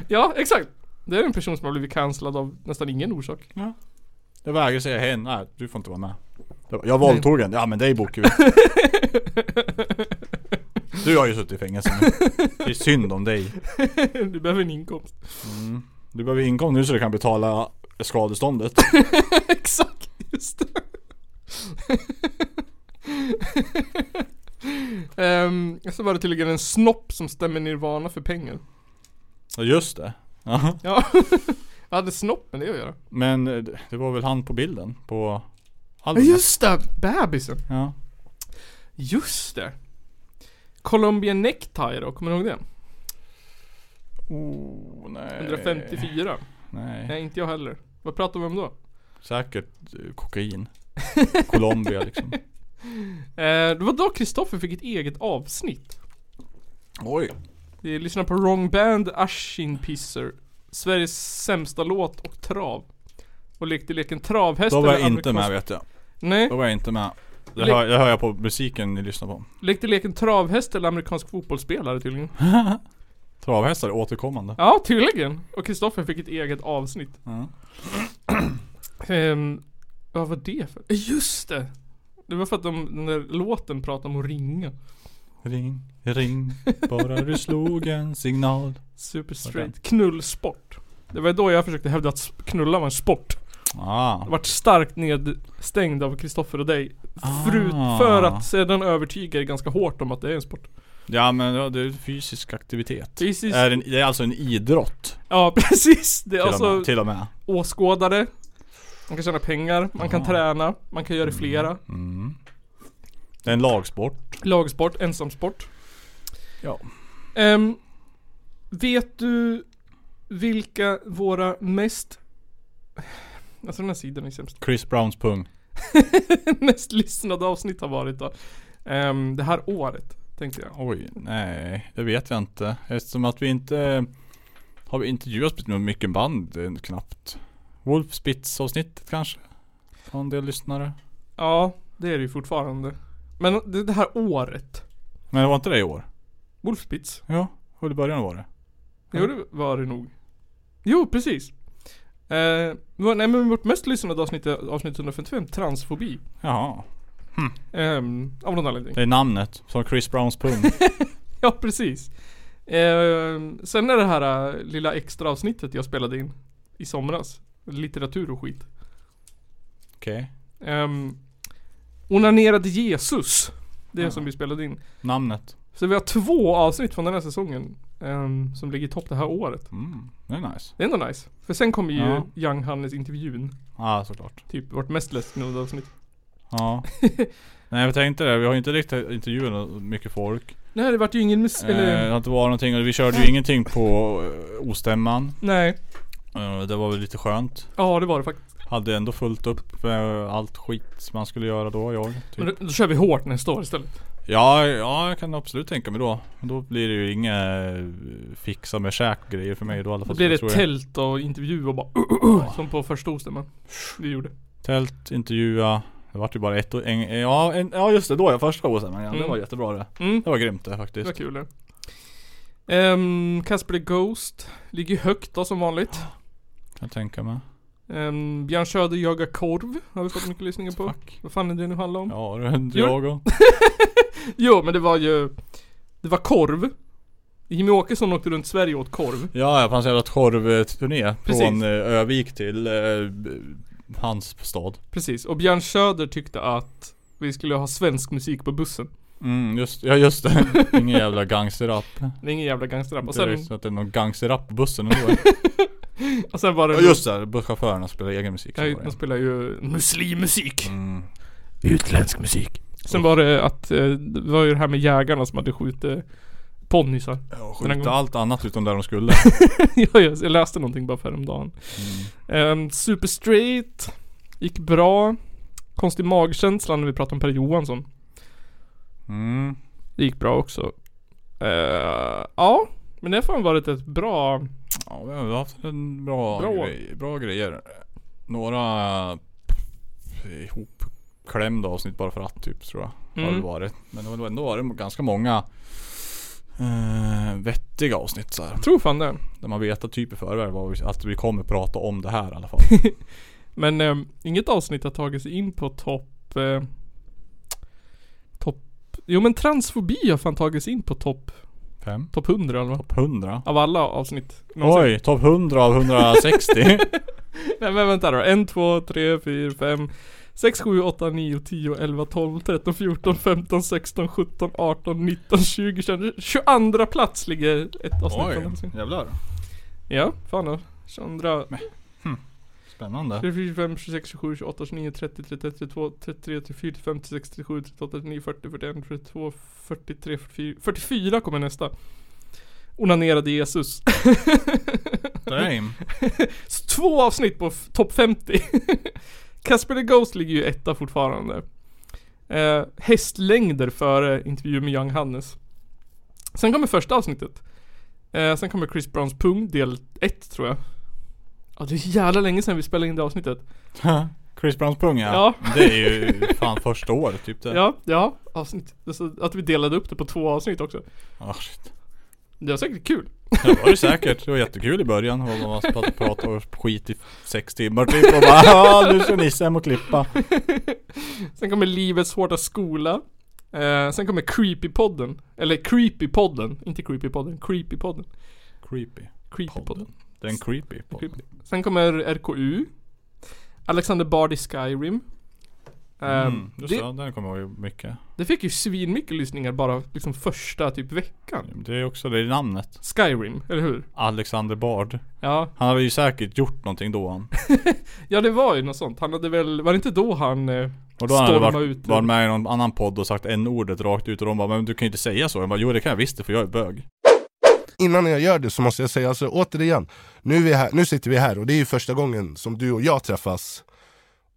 [SPEAKER 3] Ja, exakt. Det är en person som har blivit cancellad av nästan ingen orsak.
[SPEAKER 4] jag vägrar säga hen. Nej, du får inte vara med. Det var- Jag våldtog henne. Ja men dig bokar vi. Du har ju suttit i fängelse nu. Det är synd om dig. Mm.
[SPEAKER 3] du behöver en inkomst.
[SPEAKER 4] Du behöver inkomst nu så du kan betala skadeståndet.
[SPEAKER 3] exakt, just det. Ehm, så var det tydligen en snopp som stämmer Nirvana för pengar.
[SPEAKER 4] Ja just det. Ja.
[SPEAKER 3] Ja, vad hade snoppen det att göra?
[SPEAKER 4] Men eh, det det var väl han på bilden på
[SPEAKER 3] Ja
[SPEAKER 4] albumet?
[SPEAKER 3] just det, bebisen.
[SPEAKER 4] Ja.
[SPEAKER 3] Just det. Colombian Necktie då, kommer du ihåg det?
[SPEAKER 4] Oh, nej.
[SPEAKER 3] 154.
[SPEAKER 4] Nej.
[SPEAKER 3] Nej, inte jag heller. Vad pratar vi om då?
[SPEAKER 4] Säkert eh, kokain. Colombia liksom.
[SPEAKER 3] Eh, det var då Kristoffer fick ett eget avsnitt.
[SPEAKER 4] Oj.
[SPEAKER 3] Vi lyssnar på Wrong Band, Ashin Pisser, Sveriges sämsta låt och trav. Och lekte leken travhäst
[SPEAKER 4] Då var jag
[SPEAKER 3] eller
[SPEAKER 4] inte med
[SPEAKER 3] amerikansk-
[SPEAKER 4] vet jag.
[SPEAKER 3] Nej,
[SPEAKER 4] Då var jag inte med. Det
[SPEAKER 3] Le-
[SPEAKER 4] hör, det hör jag på musiken ni lyssnar på.
[SPEAKER 3] lekte leken travhäst eller amerikansk fotbollsspelare tydligen.
[SPEAKER 4] Travhästar är återkommande.
[SPEAKER 3] Ja, tydligen. Och Kristoffer fick ett eget avsnitt.
[SPEAKER 4] Ja.
[SPEAKER 3] Ehm, vad var det för? Eh, Just det! Det var för att de, den där låten pratade om att ringa.
[SPEAKER 4] Ring, ring, bara du slog en signal.
[SPEAKER 3] Super straight. Knullsport. Det var då jag försökte hävda att s- knulla var en sport.
[SPEAKER 4] Ah.
[SPEAKER 3] Vart starkt nedstängd av Kristoffer och dig. Förut,
[SPEAKER 4] Ah.
[SPEAKER 3] för att sedan övertyga er ganska hårt om att det är en sport.
[SPEAKER 4] Ja men ja, det är fysisk aktivitet.
[SPEAKER 3] Precis.
[SPEAKER 4] Är en, det är alltså en idrott.
[SPEAKER 3] Ja precis. Det är
[SPEAKER 4] Till, och
[SPEAKER 3] alltså
[SPEAKER 4] med, till och med.
[SPEAKER 3] åskådare.
[SPEAKER 4] Ah.
[SPEAKER 3] Man kan tjäna pengar, man kan
[SPEAKER 4] Aha.
[SPEAKER 3] träna, man kan göra det flera.
[SPEAKER 4] Mm. Det är en lagsport.
[SPEAKER 3] Lagsport, ensamsport.
[SPEAKER 4] Ja.
[SPEAKER 3] Ehm, vet du vilka våra mest... Alltså den här sidan är sämst.
[SPEAKER 4] Chris Browns pung.
[SPEAKER 3] mest lyssnade avsnitt har varit då. Ehm, det här året, tänkte jag.
[SPEAKER 4] Oj, nej. Det vet jag inte. Eftersom att vi inte har vi intervjuat speciellt mycket band eh, knappt. Wolf Spitz avsnittet kanske? Har en del lyssnare.
[SPEAKER 3] Ja, det är det ju fortfarande. Men det, det här året.
[SPEAKER 4] Men det var inte det i år?
[SPEAKER 3] Wolfspitz.
[SPEAKER 4] Ja, och i början var det.
[SPEAKER 3] Jo, det var det nog. Jo, precis. Eh, vår- nej men vårt mest lyssnade avsnitt, är avsnitt 155, transfobi.
[SPEAKER 4] Jaha.
[SPEAKER 3] Ehm, av någon anledning.
[SPEAKER 4] Det är namnet. Som Chris Browns pung.
[SPEAKER 3] Ja, precis. Ehm, sen är det här eh, lilla extra avsnittet jag spelade in i somras. Litteratur och skit.
[SPEAKER 4] Okej.
[SPEAKER 3] Um, onanerade Jesus. Det som vi spelade in.
[SPEAKER 4] Namnet.
[SPEAKER 3] Så vi har två avsnitt från den här säsongen. ehm, som ligger i topp det här året.
[SPEAKER 4] Mm, det är nice.
[SPEAKER 3] Det är ändå nice. För sen kommer ju
[SPEAKER 4] Ja.
[SPEAKER 3] Young Hannes-intervjun.
[SPEAKER 4] Ja, såklart.
[SPEAKER 3] Typ vårt mest läsknodda avsnitt.
[SPEAKER 4] Ja. nej, jag tänkte det. Vi har ju inte riktigt intervjuat nå- mycket folk.
[SPEAKER 3] Nej, det vart ju ingen mus-
[SPEAKER 4] Eh, det
[SPEAKER 3] eller...
[SPEAKER 4] har inte varit någonting och vi körde ju ingenting på eh, ostämman.
[SPEAKER 3] Nej.
[SPEAKER 4] Eh, det var väl lite skönt.
[SPEAKER 3] Ja, det var det faktiskt.
[SPEAKER 4] Hade ändå fullt upp med allt skit som man skulle göra då, jag.
[SPEAKER 3] Men
[SPEAKER 4] Typ.
[SPEAKER 3] då, då kör vi hårt nästa år istället.
[SPEAKER 4] Ja, ja, jag kan absolut tänka mig då. Men då blir det ju inga eh, fixa med käkgrejer för mig då i alla
[SPEAKER 3] Då
[SPEAKER 4] fall.
[SPEAKER 3] blir
[SPEAKER 4] tror
[SPEAKER 3] det
[SPEAKER 4] jag.
[SPEAKER 3] tält och intervju och bara Som på första ostämman. Vi gjorde.
[SPEAKER 4] Tält, intervjua. Det vart ju bara ett och en, ja, en, ja just det, då är jag första gåsen. Men ja, det
[SPEAKER 3] Mm.
[SPEAKER 4] var jättebra det.
[SPEAKER 3] Mm.
[SPEAKER 4] Det var grymt det
[SPEAKER 3] Det var
[SPEAKER 4] faktiskt.
[SPEAKER 3] kul det. Ehm, Casper the Ghost ligger högt då som vanligt.
[SPEAKER 4] Kan jag tänka mig.
[SPEAKER 3] Ehm, Björn Söder jagar korv har vi fått mycket lyssningar på.
[SPEAKER 4] Fuck.
[SPEAKER 3] Vad fan är det nu handlar om?
[SPEAKER 4] Ja, det hände
[SPEAKER 3] Jo.
[SPEAKER 4] jag och.
[SPEAKER 3] Jo men det var ju Det var korv. Jimmy Åkesson åkte runt Sverige och åt korv.
[SPEAKER 4] Ja, jag fanns en jävla torvturné.
[SPEAKER 3] Precis.
[SPEAKER 4] Från eh, Övik till eh, b- hans stad.
[SPEAKER 3] Precis. Och Björn Söder tyckte att vi skulle ha svensk musik på bussen.
[SPEAKER 4] Mm, just, ja just det. Ingen jävla gangsterrap.
[SPEAKER 3] Det är ingen jävla gangsterrap. Och
[SPEAKER 4] Inte
[SPEAKER 3] sen,
[SPEAKER 4] det så att det är någon gangsterrap på bussen ändå.
[SPEAKER 3] och sen var det...
[SPEAKER 4] ja just det, busschaufförerna spelar egen musik. Mm.
[SPEAKER 3] Ja,
[SPEAKER 4] som var
[SPEAKER 3] de
[SPEAKER 4] det.
[SPEAKER 3] spelar ju muslimmusik.
[SPEAKER 4] Mm.
[SPEAKER 3] Utländsk musik. Sen var det att, eh, det var ju det här med jägarna som hade skjutit ponnysar.
[SPEAKER 4] Ja,
[SPEAKER 3] Den här
[SPEAKER 4] skjuta
[SPEAKER 3] gången.
[SPEAKER 4] allt annat utom där de skulle. Mm.
[SPEAKER 3] ja, jag, jag läste någonting bara för häromdagen. Um, Super Straight gick bra. Konstig magkänsla när vi pratade om Per Johansson.
[SPEAKER 4] Mm.
[SPEAKER 3] Det gick bra också. Eh, ja, men det har fan varit ett bra...
[SPEAKER 4] Ja, vi har haft en bra,
[SPEAKER 3] Bra.
[SPEAKER 4] bra. Grej, bra grejer. Några ihopklämda avsnitt bara för att typ tror jag. Har
[SPEAKER 3] Mm.
[SPEAKER 4] det varit. Men det har ändå varit ganska många eh, vettiga avsnitt så här.
[SPEAKER 3] Tror fan det.
[SPEAKER 4] Där man vet att typ i förväg vad vi, att vi kommer prata om det här i alla fall.
[SPEAKER 3] Men ehm, inget avsnitt har tagit sig in på topp... Eh, topp... Jo men transfobi har fan tagit sig in på topp...
[SPEAKER 4] Fem.
[SPEAKER 3] Topp 100 eller vad?
[SPEAKER 4] Topp 100.
[SPEAKER 3] Av alla avsnitt. någonsin.
[SPEAKER 4] Oj, topp 100 av 160.
[SPEAKER 3] Nej men vänta då. 1, 2, 3, 4, 5, 6, 7, 8, 9, 10, 11, 12, 13, 14, 15, 16, 17, 18, 19, 20, 21, 22 plats ligger ett avsnitt från någonsin.
[SPEAKER 4] jävlar.
[SPEAKER 3] Ja, fan då. 22,
[SPEAKER 4] Spännande.
[SPEAKER 3] 24, 25, 26, 27, 28, 29, 30, 31, 32, 33, 34, 35, 36, 37, 38, 39, 40, 41, 42, 43, 44, 44 kommer nästa. Onanerade Jesus.
[SPEAKER 4] Damn.
[SPEAKER 3] Så Två avsnitt på f- topp 50. Casper the Ghost ligger ju etta fortfarande. Eh, hästlängder före intervju med Young Hannes. Sen kommer första avsnittet. Eh, sen kommer Chris Browns pung, del 1 tror jag. Ja, det är jävla länge sedan vi spelade in det avsnittet.
[SPEAKER 4] Chris Browns pung ja.
[SPEAKER 3] Ja.
[SPEAKER 4] Det är ju fan första året typ det.
[SPEAKER 3] Ja, ja. Avsnitt. Alltså, att vi delade upp det på två avsnitt också.
[SPEAKER 4] Ah, shit.
[SPEAKER 3] Det var säkert kul.
[SPEAKER 4] Det var det säkert. Det var jättekul i början. Och man satt och pratade och skit i sex timmar typ. Och bara ja nu ska Nisse hem och klippa.
[SPEAKER 3] Sen kommer Livets Hårda Skola. Eh, sen kommer Creepypodden. Eller Creepypodden. Inte Creepypodden. Creepypodden.
[SPEAKER 4] Creepy.
[SPEAKER 3] Creepypodden.
[SPEAKER 4] Det är en creepy podd.
[SPEAKER 3] Creepy. Sen kommer RKU. Alexander Bard i Skyrim. Ehm,
[SPEAKER 4] Mm, just det,
[SPEAKER 3] det,
[SPEAKER 4] ja, den kommer jag ihåg mycket.
[SPEAKER 3] det fick ju svinmycket lyssningar bara liksom första typ veckan.
[SPEAKER 4] Det är också det i namnet.
[SPEAKER 3] Skyrim, eller hur?
[SPEAKER 4] Alexander Bard.
[SPEAKER 3] Ja,
[SPEAKER 4] Han hade ju säkert gjort någonting då han.
[SPEAKER 3] ja det var ju något sånt. Han hade väl, var det inte då han... Eh,
[SPEAKER 4] Och då hade han
[SPEAKER 3] Storma
[SPEAKER 4] varit,
[SPEAKER 3] ut.
[SPEAKER 4] varit med i någon annan podd och sagt en ordet rakt ut och de bara Men du kan ju inte säga så. Jag bara, jo det kan jag visst det för jag är bög.
[SPEAKER 6] innan jag gör det så måste jag säga alltså, återigen, nu, är vi här, nu sitter vi här och det är ju första gången som du och jag träffas.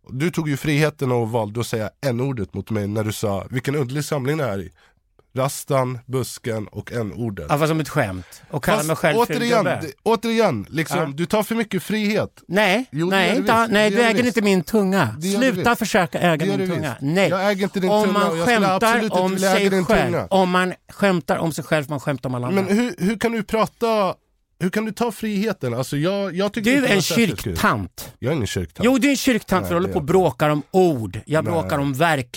[SPEAKER 6] Du tog ju friheten och valde att säga n-ordet mot mig när du sa vilken underlig samling det här är i. Rastan, busken och n-ordet.
[SPEAKER 7] Ja, fast som ett skämt. Och kalla
[SPEAKER 6] Fast
[SPEAKER 7] mig själv ful
[SPEAKER 6] återigen,
[SPEAKER 7] gubbe.
[SPEAKER 6] det- återigen liksom,
[SPEAKER 7] Ja.
[SPEAKER 6] du tar för mycket frihet.
[SPEAKER 7] Nej,
[SPEAKER 6] Jo, det gör
[SPEAKER 7] nej,
[SPEAKER 6] du
[SPEAKER 7] inte,
[SPEAKER 6] visst.
[SPEAKER 7] nej
[SPEAKER 6] Det
[SPEAKER 7] du
[SPEAKER 6] gör du
[SPEAKER 7] äger
[SPEAKER 6] visst.
[SPEAKER 7] inte min tunga.
[SPEAKER 6] Det gör du
[SPEAKER 7] Sluta
[SPEAKER 6] visst.
[SPEAKER 7] försöka
[SPEAKER 6] Det
[SPEAKER 7] äga
[SPEAKER 6] gör
[SPEAKER 7] min
[SPEAKER 6] du
[SPEAKER 7] tunga.
[SPEAKER 6] visst.
[SPEAKER 7] Nej.
[SPEAKER 6] Jag äger inte din
[SPEAKER 7] om
[SPEAKER 6] tunga och
[SPEAKER 7] man
[SPEAKER 6] jag skulle absolut
[SPEAKER 7] skämtar
[SPEAKER 6] inte
[SPEAKER 7] om
[SPEAKER 6] vilja äga
[SPEAKER 7] sig
[SPEAKER 6] din
[SPEAKER 7] själv,
[SPEAKER 6] tunga.
[SPEAKER 7] om man skämtar om sig själv, man skämtar om alla andra.
[SPEAKER 6] Men hur, hur kan du prata, hur kan du ta friheten? Alltså, jag, jag tycker
[SPEAKER 7] du
[SPEAKER 6] inte det
[SPEAKER 7] är
[SPEAKER 6] var
[SPEAKER 7] en
[SPEAKER 6] särskilt kul.
[SPEAKER 7] kyrktant.
[SPEAKER 6] Jag är ingen kyrktant.
[SPEAKER 7] Jo, du är en kyrktant
[SPEAKER 6] Nej,
[SPEAKER 7] för du håller
[SPEAKER 6] det
[SPEAKER 7] på och
[SPEAKER 6] är
[SPEAKER 7] bråkar om ord. Jag
[SPEAKER 6] Nej.
[SPEAKER 7] bråkar om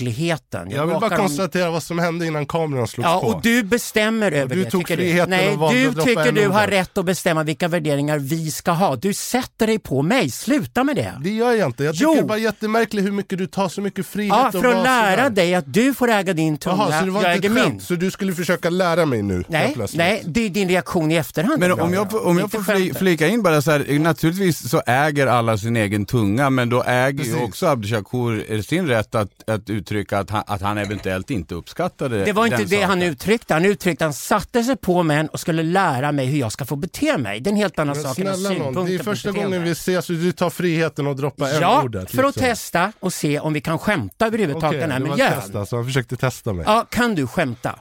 [SPEAKER 7] verkligheten.
[SPEAKER 6] jag vill bara
[SPEAKER 7] bråkar om-
[SPEAKER 6] konstatera vad som hände innan kameran slogs
[SPEAKER 7] Ja,
[SPEAKER 6] på.
[SPEAKER 7] och du bestämmer över
[SPEAKER 6] du
[SPEAKER 7] det.
[SPEAKER 6] tog
[SPEAKER 7] tycker
[SPEAKER 6] friheten
[SPEAKER 7] Nej,
[SPEAKER 6] och valde
[SPEAKER 7] du
[SPEAKER 6] att droppa
[SPEAKER 7] tycker
[SPEAKER 6] en
[SPEAKER 7] du har
[SPEAKER 6] ordet.
[SPEAKER 7] rätt att bestämma vilka värderingar vi ska ha. Du sätter dig på mig. Sluta med det.
[SPEAKER 6] Det gör jag inte. Jag
[SPEAKER 7] Jo.
[SPEAKER 6] tycker det är bara jättemärkligt hur mycket du tar så mycket frihet.
[SPEAKER 7] Ja,
[SPEAKER 6] och
[SPEAKER 7] för att
[SPEAKER 6] var
[SPEAKER 7] lära
[SPEAKER 6] sådär.
[SPEAKER 7] dig att du får äga din tunga,
[SPEAKER 6] Jaha, så det var
[SPEAKER 7] jag
[SPEAKER 6] inte
[SPEAKER 7] äger
[SPEAKER 6] ett
[SPEAKER 7] min.
[SPEAKER 6] skämt. Så du skulle försöka lära mig nu? helt
[SPEAKER 7] Nej,
[SPEAKER 6] plötsligt.
[SPEAKER 7] nej, det är din reaktion i efterhand.
[SPEAKER 8] Men om jag, om jag
[SPEAKER 7] Inte
[SPEAKER 8] får fli,
[SPEAKER 7] skämtet.
[SPEAKER 8] flika in bara så här, naturligtvis så äger alla sin egen tunga, men då äger ju
[SPEAKER 6] Precis.
[SPEAKER 8] också Abdi Shakur sin rätt att, att uttrycka att han, att han eventuellt inte uppskattade
[SPEAKER 7] Det var inte
[SPEAKER 8] den
[SPEAKER 7] det han
[SPEAKER 8] saken.
[SPEAKER 7] uttryckte. Han uttryckte han satte sig på mig och skulle lära mig hur jag ska få bete mig. Det är en helt annan
[SPEAKER 6] Men
[SPEAKER 7] sak än att
[SPEAKER 6] snälla
[SPEAKER 7] ha
[SPEAKER 6] nån, det
[SPEAKER 7] synpunkter
[SPEAKER 6] är
[SPEAKER 7] på
[SPEAKER 6] första
[SPEAKER 7] beteende.
[SPEAKER 6] gången vi ses och du tar friheten att droppa
[SPEAKER 7] Ja,
[SPEAKER 6] n-ordet.
[SPEAKER 7] för att
[SPEAKER 6] liksom.
[SPEAKER 7] testa och se om vi kan skämta överhuvudtaget
[SPEAKER 6] Okej,
[SPEAKER 7] i den här
[SPEAKER 6] det var Alltså, ett
[SPEAKER 7] miljön.
[SPEAKER 6] test alltså. Han försökte testa mig.
[SPEAKER 7] Ja, kan du skämta?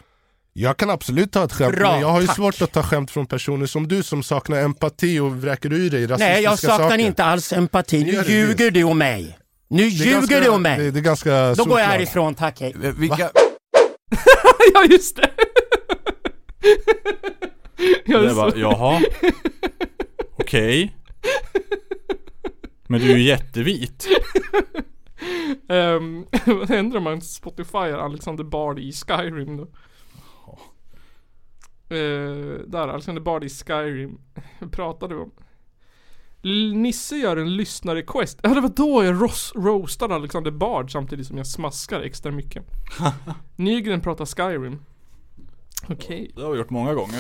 [SPEAKER 6] Jag kan absolut ta ett skämt,
[SPEAKER 7] Bra,
[SPEAKER 6] men jag har ju
[SPEAKER 7] tack.
[SPEAKER 6] svårt att ta skämt från personer som du som saknar empati och vräker ur dig rasistiska
[SPEAKER 7] Nej, jag saknar
[SPEAKER 6] saker.
[SPEAKER 7] inte alls empati.
[SPEAKER 6] Det
[SPEAKER 7] Nu
[SPEAKER 6] gör det
[SPEAKER 7] ljuger du om mig. Nu
[SPEAKER 6] Det är
[SPEAKER 7] ljuger
[SPEAKER 6] ganska-
[SPEAKER 7] du om
[SPEAKER 6] Det,
[SPEAKER 7] mig.
[SPEAKER 6] det är ganska
[SPEAKER 7] Då går jag
[SPEAKER 6] solklart.
[SPEAKER 7] härifrån, tack hej.
[SPEAKER 8] Eh, Vilka,
[SPEAKER 3] ja just det! ja,
[SPEAKER 4] Det bara, jaha. Okej. Men du är ju jättevit.
[SPEAKER 3] Ehm, vad ändrar man Spotify Alexander Bard i Skyrim då? Eh, där, Alexander Bard i Skyrim. pratade vi om. L- Nisse gör en lyssnarrequest. Ja det var då jag ross- roastade Alexander Bard samtidigt som jag smaskar extra mycket. Nygren pratar Skyrim. Okej.
[SPEAKER 4] Det har vi gjort många gånger.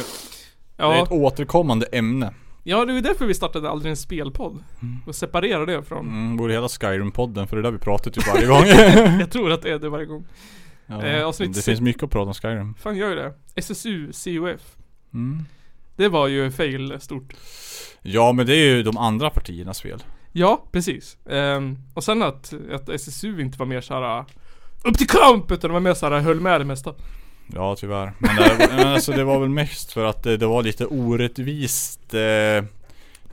[SPEAKER 4] Det är
[SPEAKER 3] Ja,
[SPEAKER 4] ett återkommande ämne.
[SPEAKER 3] ja, det var därför vi startade Aldrig en spelpodd. Och separerade det från.
[SPEAKER 4] Mm, borde heta Skyrim-podden för det är där vi pratar typ varje gång.
[SPEAKER 3] Jag tror att det är det varje gång.
[SPEAKER 4] Ja,
[SPEAKER 3] Eh, avsnitt
[SPEAKER 4] det
[SPEAKER 3] sex.
[SPEAKER 4] finns mycket att prata om Skyrim.
[SPEAKER 3] Fan gör ju det. SSU, CUF.
[SPEAKER 4] Mm.
[SPEAKER 3] Det var ju fail stort.
[SPEAKER 4] Ja men det är ju de andra partiernas fel.
[SPEAKER 3] Ja, precis. Ehm, och sen att, att SSU inte var mer såhär äh, Upp till kamp! Utan de var mer såhär höll med det mesta.
[SPEAKER 4] Ja tyvärr. Men, det, men alltså, det var väl mest för att eh, det, det var lite orättvist. Eh, det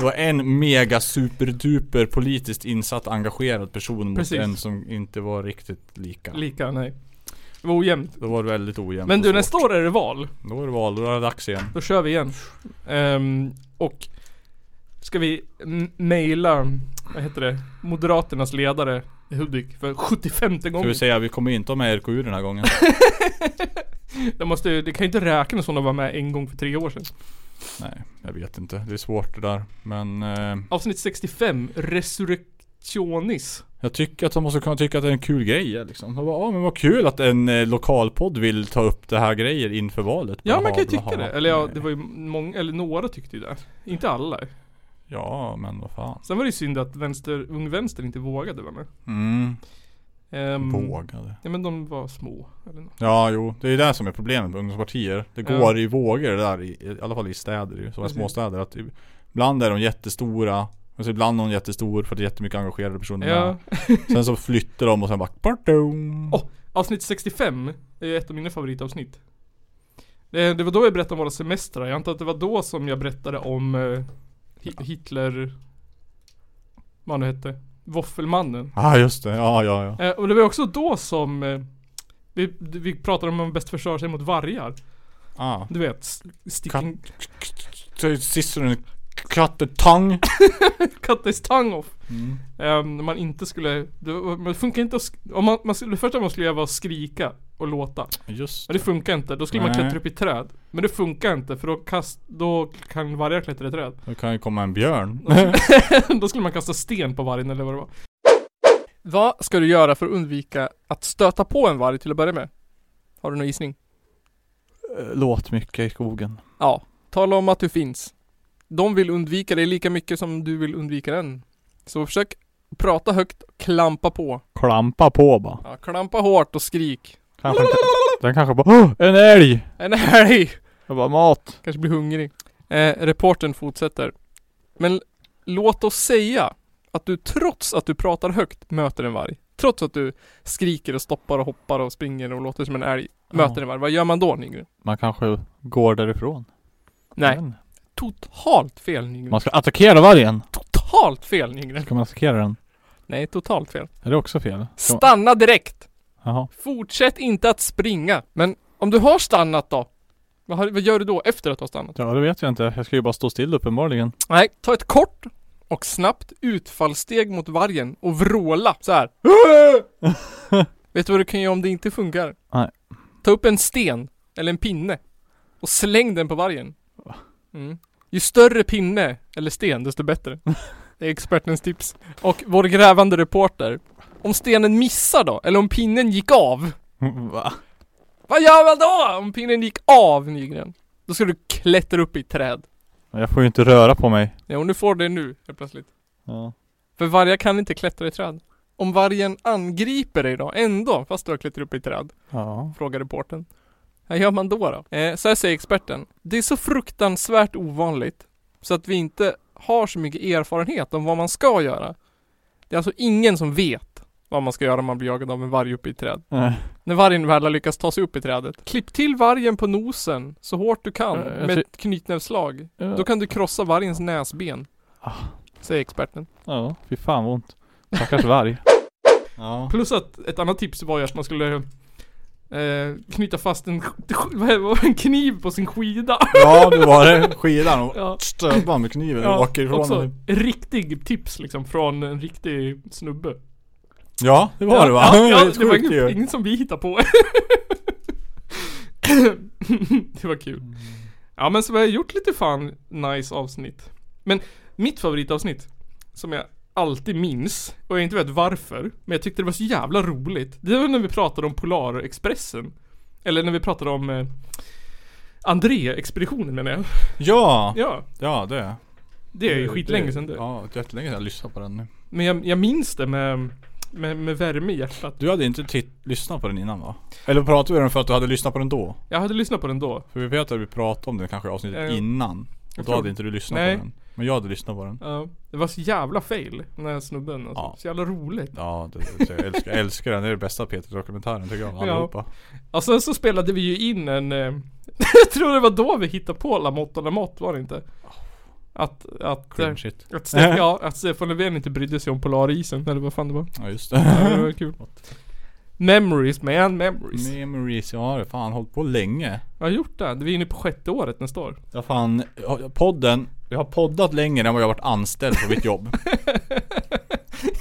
[SPEAKER 4] var en mega superduper politiskt insatt engagerad person mot
[SPEAKER 3] Precis.
[SPEAKER 4] en som inte var riktigt lika.
[SPEAKER 3] Lika, nej. Det var ojämnt.
[SPEAKER 4] Då var det väldigt ojämnt
[SPEAKER 3] Men
[SPEAKER 4] och
[SPEAKER 3] du,
[SPEAKER 4] svårt.
[SPEAKER 3] nästa år är det val.
[SPEAKER 4] Då är det val, då är det dags igen.
[SPEAKER 3] Då kör vi igen. Ehm, och ska vi m- mejla, vad heter det, Moderaternas ledare i Hudik för 75
[SPEAKER 4] Ska
[SPEAKER 3] gången.
[SPEAKER 4] vi säga, vi kommer inte ha med RKU den här gången.
[SPEAKER 3] De måste, ju- det kan ju inte räknas som de var med en gång för tre år sedan.
[SPEAKER 4] Nej, jag vet inte. Det är svårt det där. Men eh,
[SPEAKER 3] Avsnitt 65, Resurrectionis.
[SPEAKER 4] jag tycker att de måste kunna tycka att det är en kul grej ja, liksom. Jag bara, ja men vad kul att en eh, lokalpodd vill ta upp det här grejer inför valet.
[SPEAKER 3] Ja,
[SPEAKER 4] Blaha,
[SPEAKER 3] man kan ju
[SPEAKER 4] blaha.
[SPEAKER 3] tycka det. Eller ja,
[SPEAKER 4] Nej.
[SPEAKER 3] det var ju många, eller några tyckte ju det. Inte alla.
[SPEAKER 4] Ja, men vad fan.
[SPEAKER 3] Sen var det ju synd att vänster, Ung Vänster inte vågade vara med.
[SPEAKER 4] Mm,
[SPEAKER 3] Ehm,
[SPEAKER 4] vågade.
[SPEAKER 3] Ja men de var små. Eller nåt.
[SPEAKER 4] Ja, jo. Det är det som är problemet med ungdomspartier. Det
[SPEAKER 3] Ja.
[SPEAKER 4] går i vågor det där, i, i alla fall i städer ju, som är
[SPEAKER 3] Precis.
[SPEAKER 4] småstäder. Att ibland är de jättestora, men så ibland är de jättestor för att det är jättemycket engagerade personer
[SPEAKER 3] Ja.
[SPEAKER 4] med. Sen så flyttar de och sen bara partum.
[SPEAKER 3] Åh, Avsnitt 65 är ett av mina favoritavsnitt. Det, det var då jag berättade om våra semestrar. Jag antar att det var då som jag berättade om eh, Hi- Hitler... Vad han nu hette. Våffelmannen.
[SPEAKER 4] ah, just det. Ja, ja, ja.
[SPEAKER 3] Eh, och det var också då som eh, vi, vi pratade om man bäst försvarar sig mot vargar.
[SPEAKER 4] Ah.
[SPEAKER 3] Du vet, s- sticking...
[SPEAKER 4] Sissonen kattetang.
[SPEAKER 3] cut this tongue off. Ehm, när man inte skulle, det, var- men det funkar inte att, sk- om man, man skulle, det första man skulle göra var att skrika och låta.
[SPEAKER 4] Just
[SPEAKER 3] Men det funkar inte, då skulle man
[SPEAKER 4] Nej.
[SPEAKER 3] klättra upp i träd. Men det funkar inte för då kast, då kan vargar klättra i träd.
[SPEAKER 4] Nu kan ju komma en björn.
[SPEAKER 3] då skulle man kasta sten på vargen eller vad det var. Vad ska du göra för att undvika att stöta på en varg till att börja med? Har du någon gissning?
[SPEAKER 4] Låt mycket i skogen.
[SPEAKER 3] Ja, tala om att du finns. De vill undvika dig lika mycket som du vill undvika den. Så försök prata högt, klampa på.
[SPEAKER 4] Klampa på bara.
[SPEAKER 3] Ja, klampa hårt och skrik.
[SPEAKER 4] Kanske inte. Den kanske bara "Åh, En älg!
[SPEAKER 3] En älg!
[SPEAKER 4] Jag bara mat.
[SPEAKER 3] Kanske blir hungrig. Eh, reporten fortsätter. Men låt oss säga att du trots att du pratar högt möter en varg. Trots att du skriker och stoppar och hoppar och springer och låter som en älg. Möter en varg. Vad gör man då Nygren?
[SPEAKER 4] Man kanske går därifrån.
[SPEAKER 3] Nej.
[SPEAKER 4] Men
[SPEAKER 3] Totalt fel Nygren.
[SPEAKER 4] Man ska attackera vargen.
[SPEAKER 3] Totalt fel Nygren.
[SPEAKER 4] Ska man attackera den?
[SPEAKER 3] Nej, totalt fel.
[SPEAKER 4] Är det också fel? Ska man...
[SPEAKER 3] Stanna direkt!
[SPEAKER 4] Jaha.
[SPEAKER 3] Fortsätt inte att springa. Men om du har stannat då? Vad, har, vad gör du då efter att du har stannat?
[SPEAKER 4] Ja det vet jag inte. Jag ska ju bara stå still uppenbarligen.
[SPEAKER 3] Nej, ta ett kort och snabbt utfallssteg mot vargen och vråla så här. Vet du vad du kan göra om det inte funkar?
[SPEAKER 4] Nej.
[SPEAKER 3] Ta upp en sten eller en pinne och släng den på vargen. Mm. Ju större pinne eller sten, desto bättre. Det är expertens tips. Och vår grävande reporter. Om stenen missar då, eller om pinnen gick av,
[SPEAKER 4] Va?
[SPEAKER 3] vad gör man då? Om pinnen gick av Nygren? Då ska du klättra upp i ett träd.
[SPEAKER 4] Jag får ju inte röra på mig.
[SPEAKER 3] Ja, och nu får du det nu helt plötsligt.
[SPEAKER 4] Ja.
[SPEAKER 3] För vargar kan inte klättra i träd. Om vargen angriper dig då, ändå, fast du har klättrat upp i ett träd?
[SPEAKER 4] Ja.
[SPEAKER 3] Frågar reportern. Vad gör man då då? Eh, så här säger experten. Det är så fruktansvärt ovanligt så att vi inte har så mycket erfarenhet om vad man ska göra. Det är alltså ingen som vet vad man ska göra om man blir jagad av en varg uppe i ett träd.
[SPEAKER 4] Nej.
[SPEAKER 3] När vargen väl har lyckats ta sig upp i trädet. Klipp till vargen på nosen så hårt du kan
[SPEAKER 4] Eh, jag
[SPEAKER 3] med
[SPEAKER 4] ty-
[SPEAKER 3] ett knytnävsslag.
[SPEAKER 4] Ja.
[SPEAKER 3] Då kan du krossa vargens näsben.
[SPEAKER 4] Ah.
[SPEAKER 3] Säger experten.
[SPEAKER 4] ja. Fy fan vad ont. Stackars varg. Ja.
[SPEAKER 3] Plus att ett annat tips var ju att man skulle eh, knyta fast en, vad är- vad är en kniv på sin skida.
[SPEAKER 4] Ja det var det. Skidan och
[SPEAKER 3] Ja.
[SPEAKER 4] stövar med kniven och åker ifrån
[SPEAKER 3] också
[SPEAKER 4] den.
[SPEAKER 3] riktig tips liksom från en riktig snubbe.
[SPEAKER 4] Ja det var det va?
[SPEAKER 3] Ja, ja,
[SPEAKER 4] Helt
[SPEAKER 3] det var
[SPEAKER 4] sjukt
[SPEAKER 3] inget,
[SPEAKER 4] ju.
[SPEAKER 3] inget som vi hittade på. det var kul. Ja men så vi har gjort lite fan nice avsnitt. Men mitt favoritavsnitt, som jag alltid minns, och jag inte vet varför, men jag tyckte det var så jävla roligt. Det var när vi pratade om Polarexpressen. Eller när vi pratade om eh, André-expeditionen menar jag.
[SPEAKER 4] Ja.
[SPEAKER 3] Ja,
[SPEAKER 4] Ja det.
[SPEAKER 3] det är ju skitlänge sedan det.
[SPEAKER 4] Ja jättelänge sedan jag lyssnade på den nu.
[SPEAKER 3] Men jag, jag minns det med, med, med värme i hjärtat.
[SPEAKER 4] Du hade inte tit- lyssnat på den innan va? Eller pratade vi om den för att du hade lyssnat på den då?
[SPEAKER 3] Jag hade lyssnat på den då.
[SPEAKER 4] För vi vet att vi pratade om den kanske i avsnittet
[SPEAKER 3] Ja, ja.
[SPEAKER 4] innan.
[SPEAKER 3] Eh,
[SPEAKER 4] Och
[SPEAKER 3] Jag
[SPEAKER 4] då
[SPEAKER 3] tror-
[SPEAKER 4] hade inte du lyssnat
[SPEAKER 3] Nej.
[SPEAKER 4] på den. Men jag hade lyssnat på den.
[SPEAKER 3] Ja, det var så jävla fail, den här snubben alltså.
[SPEAKER 4] Ja.
[SPEAKER 3] Så jävla roligt.
[SPEAKER 4] Ja, det, det, jag, älskar, jag älskar den. Det är det bästa Peter-dokumentären tycker jag. av
[SPEAKER 3] Ja.
[SPEAKER 4] Allihopa.
[SPEAKER 3] Och sen Alltså, så spelade vi ju in en... Eh, jag tror det var då vi hittade på Lamotte och Lamotte, var det inte? Att... Att, eh,
[SPEAKER 4] Oh. Cringe shit.
[SPEAKER 3] att, Ste- ja, att Stefan Löfven inte brydde sig om Polarisen, eller vad fan det var.
[SPEAKER 4] Ja just
[SPEAKER 3] Ja, det
[SPEAKER 4] det.
[SPEAKER 3] var kul. Memories man, memories.
[SPEAKER 4] Memories, ja det har fan hållit på länge.
[SPEAKER 3] Jag har gjort det. Vi är inne på sjätte året nästa år.
[SPEAKER 4] Jag har fan, ja, podden, jag har poddat längre än vad jag har varit anställd på mitt jobb.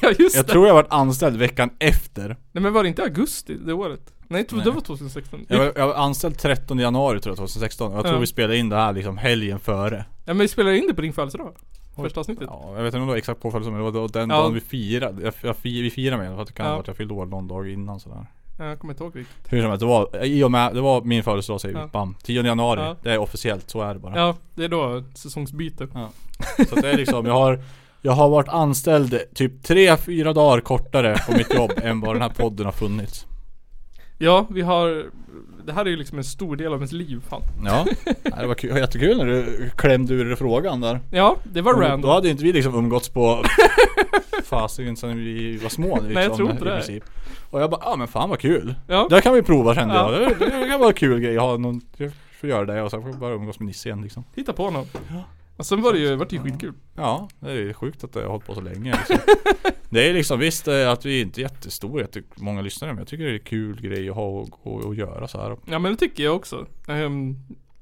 [SPEAKER 3] ja just
[SPEAKER 4] Jag
[SPEAKER 3] det.
[SPEAKER 4] tror jag har varit anställd veckan efter.
[SPEAKER 3] Nej men var det inte augusti det året? Nej, Nej. det
[SPEAKER 4] Nej.
[SPEAKER 3] var 2016.
[SPEAKER 4] Jag var, jag var anställd 13 januari tror jag 2016. Jag tror
[SPEAKER 3] Ja.
[SPEAKER 4] vi spelade in det här liksom helgen före.
[SPEAKER 3] Ja men vi spelade in det på din födelsedag. Första avsnittet.
[SPEAKER 4] Ja, jag vet inte om det var exakt påföljd som det var då- den
[SPEAKER 3] Ja.
[SPEAKER 4] dagen vi firade. Jag, jag, fir- vi firade med den för att det kan
[SPEAKER 3] Ja.
[SPEAKER 4] ha varit jag fyllde år någon dag innan sådär.
[SPEAKER 3] Ja, Jag kommer inte ihåg riktigt.
[SPEAKER 4] Hur som helst, det var, i och med, det var min födelsedag säger vi.
[SPEAKER 3] Ja.
[SPEAKER 4] Bam. 10 januari.
[SPEAKER 3] Ja.
[SPEAKER 4] Det är officiellt, så är det bara.
[SPEAKER 3] Ja, det är då säsongsbyte.
[SPEAKER 4] Så att det är liksom, jag har, jag har varit anställd typ 3-4 dagar kortare på mitt jobb än vad den här podden har funnits.
[SPEAKER 3] Ja, vi har... Det här är ju liksom en stor del av ens liv fan.
[SPEAKER 4] Ja, Nej, det var kul, jättekul när du klämde ur dig frågan där.
[SPEAKER 3] Ja, det var
[SPEAKER 4] Då
[SPEAKER 3] random.
[SPEAKER 4] hade inte vi liksom umgåtts på fasiken sedan vi var små liksom,
[SPEAKER 3] jag tror inte
[SPEAKER 4] i
[SPEAKER 3] det.
[SPEAKER 4] princip. Och jag bara, ja ah, men fan vad kul.
[SPEAKER 3] Ja.
[SPEAKER 4] Det här kan vi prova kände
[SPEAKER 3] Ja.
[SPEAKER 4] jag. Det, det kan vara en kul grej. Jag, har någon, jag får göra det och sen får jag bara umgås med Nisse igen liksom.
[SPEAKER 3] Titta på honom. Och sen var det ju, vart det ju skitkul.
[SPEAKER 4] Ja, det är sjukt att det har hållit på så länge liksom. Det är liksom visst eh, att vi är inte är jättestora, många lyssnare men jag tycker det är en kul grej att ha och, och, och göra så här.
[SPEAKER 3] Ja men det tycker jag också. Ehm,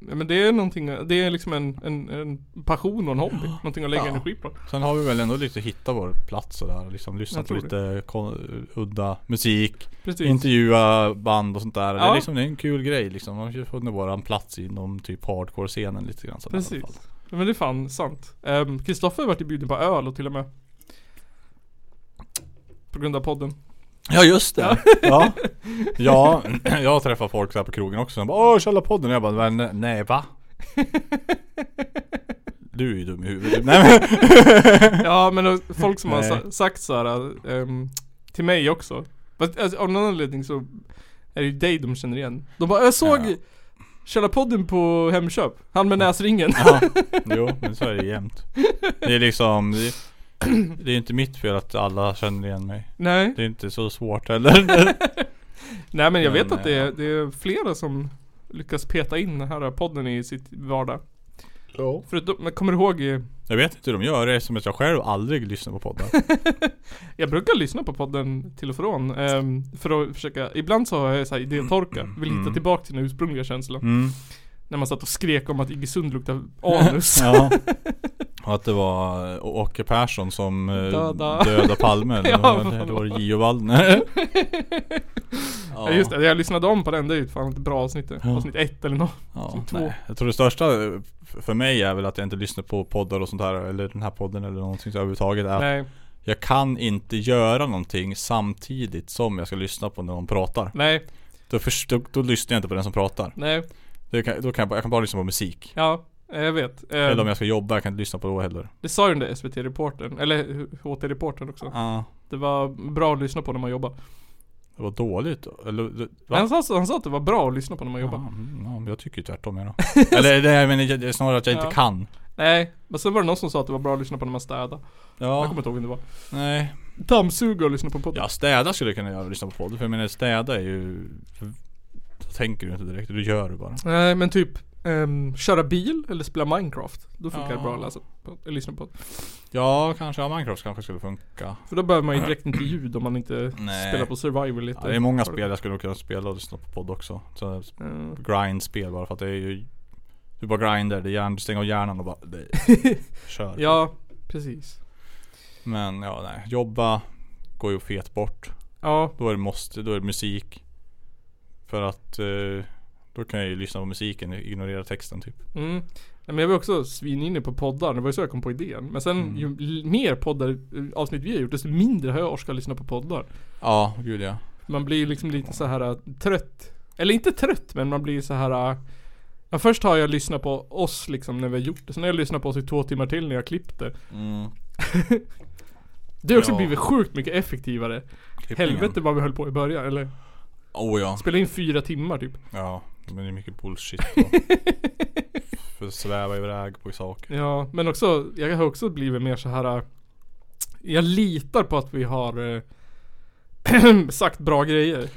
[SPEAKER 3] ja, men det är någonting, det är liksom en, en, en passion och en hobby. Någonting att lägga
[SPEAKER 4] Ja.
[SPEAKER 3] energi på.
[SPEAKER 4] Sen har vi väl ändå lite hittat vår plats sådär. Liksom lyssnat
[SPEAKER 3] Jag
[SPEAKER 4] på
[SPEAKER 3] tror
[SPEAKER 4] lite kon- udda musik,
[SPEAKER 3] Precis.
[SPEAKER 4] intervjua band och sånt där. Det,
[SPEAKER 3] Ja.
[SPEAKER 4] är liksom, det är en kul grej liksom. Man har ju funnit våran plats inom typ hardcore-scenen lite grann. Sådär, i alla
[SPEAKER 3] Precis.
[SPEAKER 4] fall.
[SPEAKER 3] Ja, Men det är fan sant. Ehm, Kristoffer um, vart ju bjuden på öl och till och med. På grund av podden.
[SPEAKER 4] Ja just det. Ja. ja. jag träffar folk där på krogen också. De bara Åh kolla podden. Jag bara "Men, nej va? Du är ju dum i huvudet. Nej men.
[SPEAKER 3] Ja men och folk som har
[SPEAKER 4] Nej.
[SPEAKER 3] sa- sagt såhär ehm, till mig också. Fast alltså, av någon anledning så är det ju dig de känner igen. De bara 'Jag såg
[SPEAKER 4] Ja.
[SPEAKER 3] Källarpodden på Hemköp, han med näsringen'
[SPEAKER 4] Ja. Jo men så är det jämt. Det är liksom. Det, det är inte mitt fel att alla känner igen mig.
[SPEAKER 3] Nej,
[SPEAKER 4] Det är inte så svårt heller.
[SPEAKER 3] nej men jag vet
[SPEAKER 4] Men,
[SPEAKER 3] att det är, det är flera som lyckas peta in den här podden i sitt vardag.
[SPEAKER 6] Ja.
[SPEAKER 3] Förutom, men kommer du ihåg eh,
[SPEAKER 4] Jag vet inte hur de gör det eftersom att jag själv aldrig lyssnar på poddar.
[SPEAKER 3] Jag brukar lyssna på podden till och från ehm, För att försöka, ibland så har jag så här idétorka Vill hitta tillbaka till den ursprungliga känslan
[SPEAKER 4] Mm.
[SPEAKER 3] När man satt och skrek om att Iggesund luktar anus
[SPEAKER 4] Ja. Och att det var Å- Åke Persson som eh,
[SPEAKER 3] Döda.
[SPEAKER 4] döda Palme eller
[SPEAKER 3] Ja,
[SPEAKER 4] vad
[SPEAKER 3] vad
[SPEAKER 4] det- det
[SPEAKER 3] var
[SPEAKER 4] var
[SPEAKER 3] det?
[SPEAKER 4] J.O. Waldner.
[SPEAKER 3] ja. Just det, jag lyssnade om på den, det är ju fan ett bra avsnitt det.
[SPEAKER 4] Ja.
[SPEAKER 3] Avsnitt ett eller något
[SPEAKER 4] Ja,
[SPEAKER 3] Som två.
[SPEAKER 4] nej. Jag tror det största eh, f- för mig är väl att jag inte lyssnar på poddar och sånt här eller den här podden eller någonting så överhuvudtaget. Är att
[SPEAKER 3] Nej,
[SPEAKER 4] jag kan inte göra någonting samtidigt som jag ska lyssna på när någon pratar.
[SPEAKER 3] nej,
[SPEAKER 4] Då, först, då, då lyssnar jag inte på den som pratar.
[SPEAKER 3] nej,
[SPEAKER 4] Det kan, då kan jag, bara- jag kan bara lyssna på musik.
[SPEAKER 3] ja eh, jag vet. Ehm,
[SPEAKER 4] Eller om jag ska jobba, jag kan inte lyssna på det heller.
[SPEAKER 3] Det sa ju den där SVT-reportern, eller HT-reportern också.
[SPEAKER 4] Ja.
[SPEAKER 3] Det var bra att lyssna på när man jobbar.
[SPEAKER 4] Det var dåligt då. Eller, det- va?
[SPEAKER 3] Men han sa, han sa att det var bra att lyssna på när man jobbar.
[SPEAKER 4] Ja, mm, ja, men jag tycker ju tvärtom jag då. Eller det, jag menar, jag- det är snarare att jag
[SPEAKER 3] Ja.
[SPEAKER 4] inte kan.
[SPEAKER 3] Nej, men sen var det någon som sa att det var bra att lyssna på när man städar. Jag
[SPEAKER 4] Ja,
[SPEAKER 3] kommer inte ihåg vem det var.
[SPEAKER 4] nej.
[SPEAKER 3] Dammsuga och lyssna på podden.
[SPEAKER 4] Ja, städa skulle jag kunna göra och lyssna på podden. För jag menar städa är ju... Då tänker du inte direkt, du gör det bara.
[SPEAKER 3] Nej men typ ehm, köra bil eller spela Minecraft. Då funkar
[SPEAKER 4] Ja.
[SPEAKER 3] det bra att läsa på, eller lyssna på.
[SPEAKER 4] Ja, kanske. Ja, Minecraft kanske skulle funka.
[SPEAKER 3] För då behöver man ju direkt inte ljud om man inte
[SPEAKER 4] Nej.
[SPEAKER 3] spelar på survival lite.
[SPEAKER 4] Ja, det är många spel jag skulle nog kunna spela och lyssna på podd också. Så
[SPEAKER 3] Mm.
[SPEAKER 4] grindspel bara för att det är ju... Du bara grindar, det är hjärn, du stänger av hjärnan och bara... Det, kör.
[SPEAKER 3] Ja, precis.
[SPEAKER 4] Men ja, nej. Jobba går ju fet bort.
[SPEAKER 3] Ja,
[SPEAKER 4] Då är det måste, då är det musik. För att eh, då kan jag ju lyssna på musiken och ignorera texten typ.
[SPEAKER 3] mm. Nej, men jag var också svininne på poddar, det var ju så jag kom på idén. Men sen
[SPEAKER 4] Mm.
[SPEAKER 3] ju l- mer poddar, eh, avsnitt vi har gjort, desto mindre har jag orkat lyssna på poddar.
[SPEAKER 4] Ja, gud ja.
[SPEAKER 3] Man blir ju liksom lite så här eh, trött. Eller inte trött, men man blir så här. eh, Ja, först har jag lyssnat på oss liksom när vi har gjort det. Sen har jag lyssnat på oss i två timmar till när jag klippt det. Det har också
[SPEAKER 4] Ja.
[SPEAKER 3] blivit sjukt mycket effektivare. Helvete vad vi höll på i början. Eller
[SPEAKER 4] Oh ja.
[SPEAKER 3] spela in fyra timmar typ.
[SPEAKER 4] Ja, men det är mycket bullshit då. För att sväva iväg på saker.
[SPEAKER 3] Ja, men också, jag har också blivit mer så här. äh, Jag litar på att vi har eh, sagt bra grejer.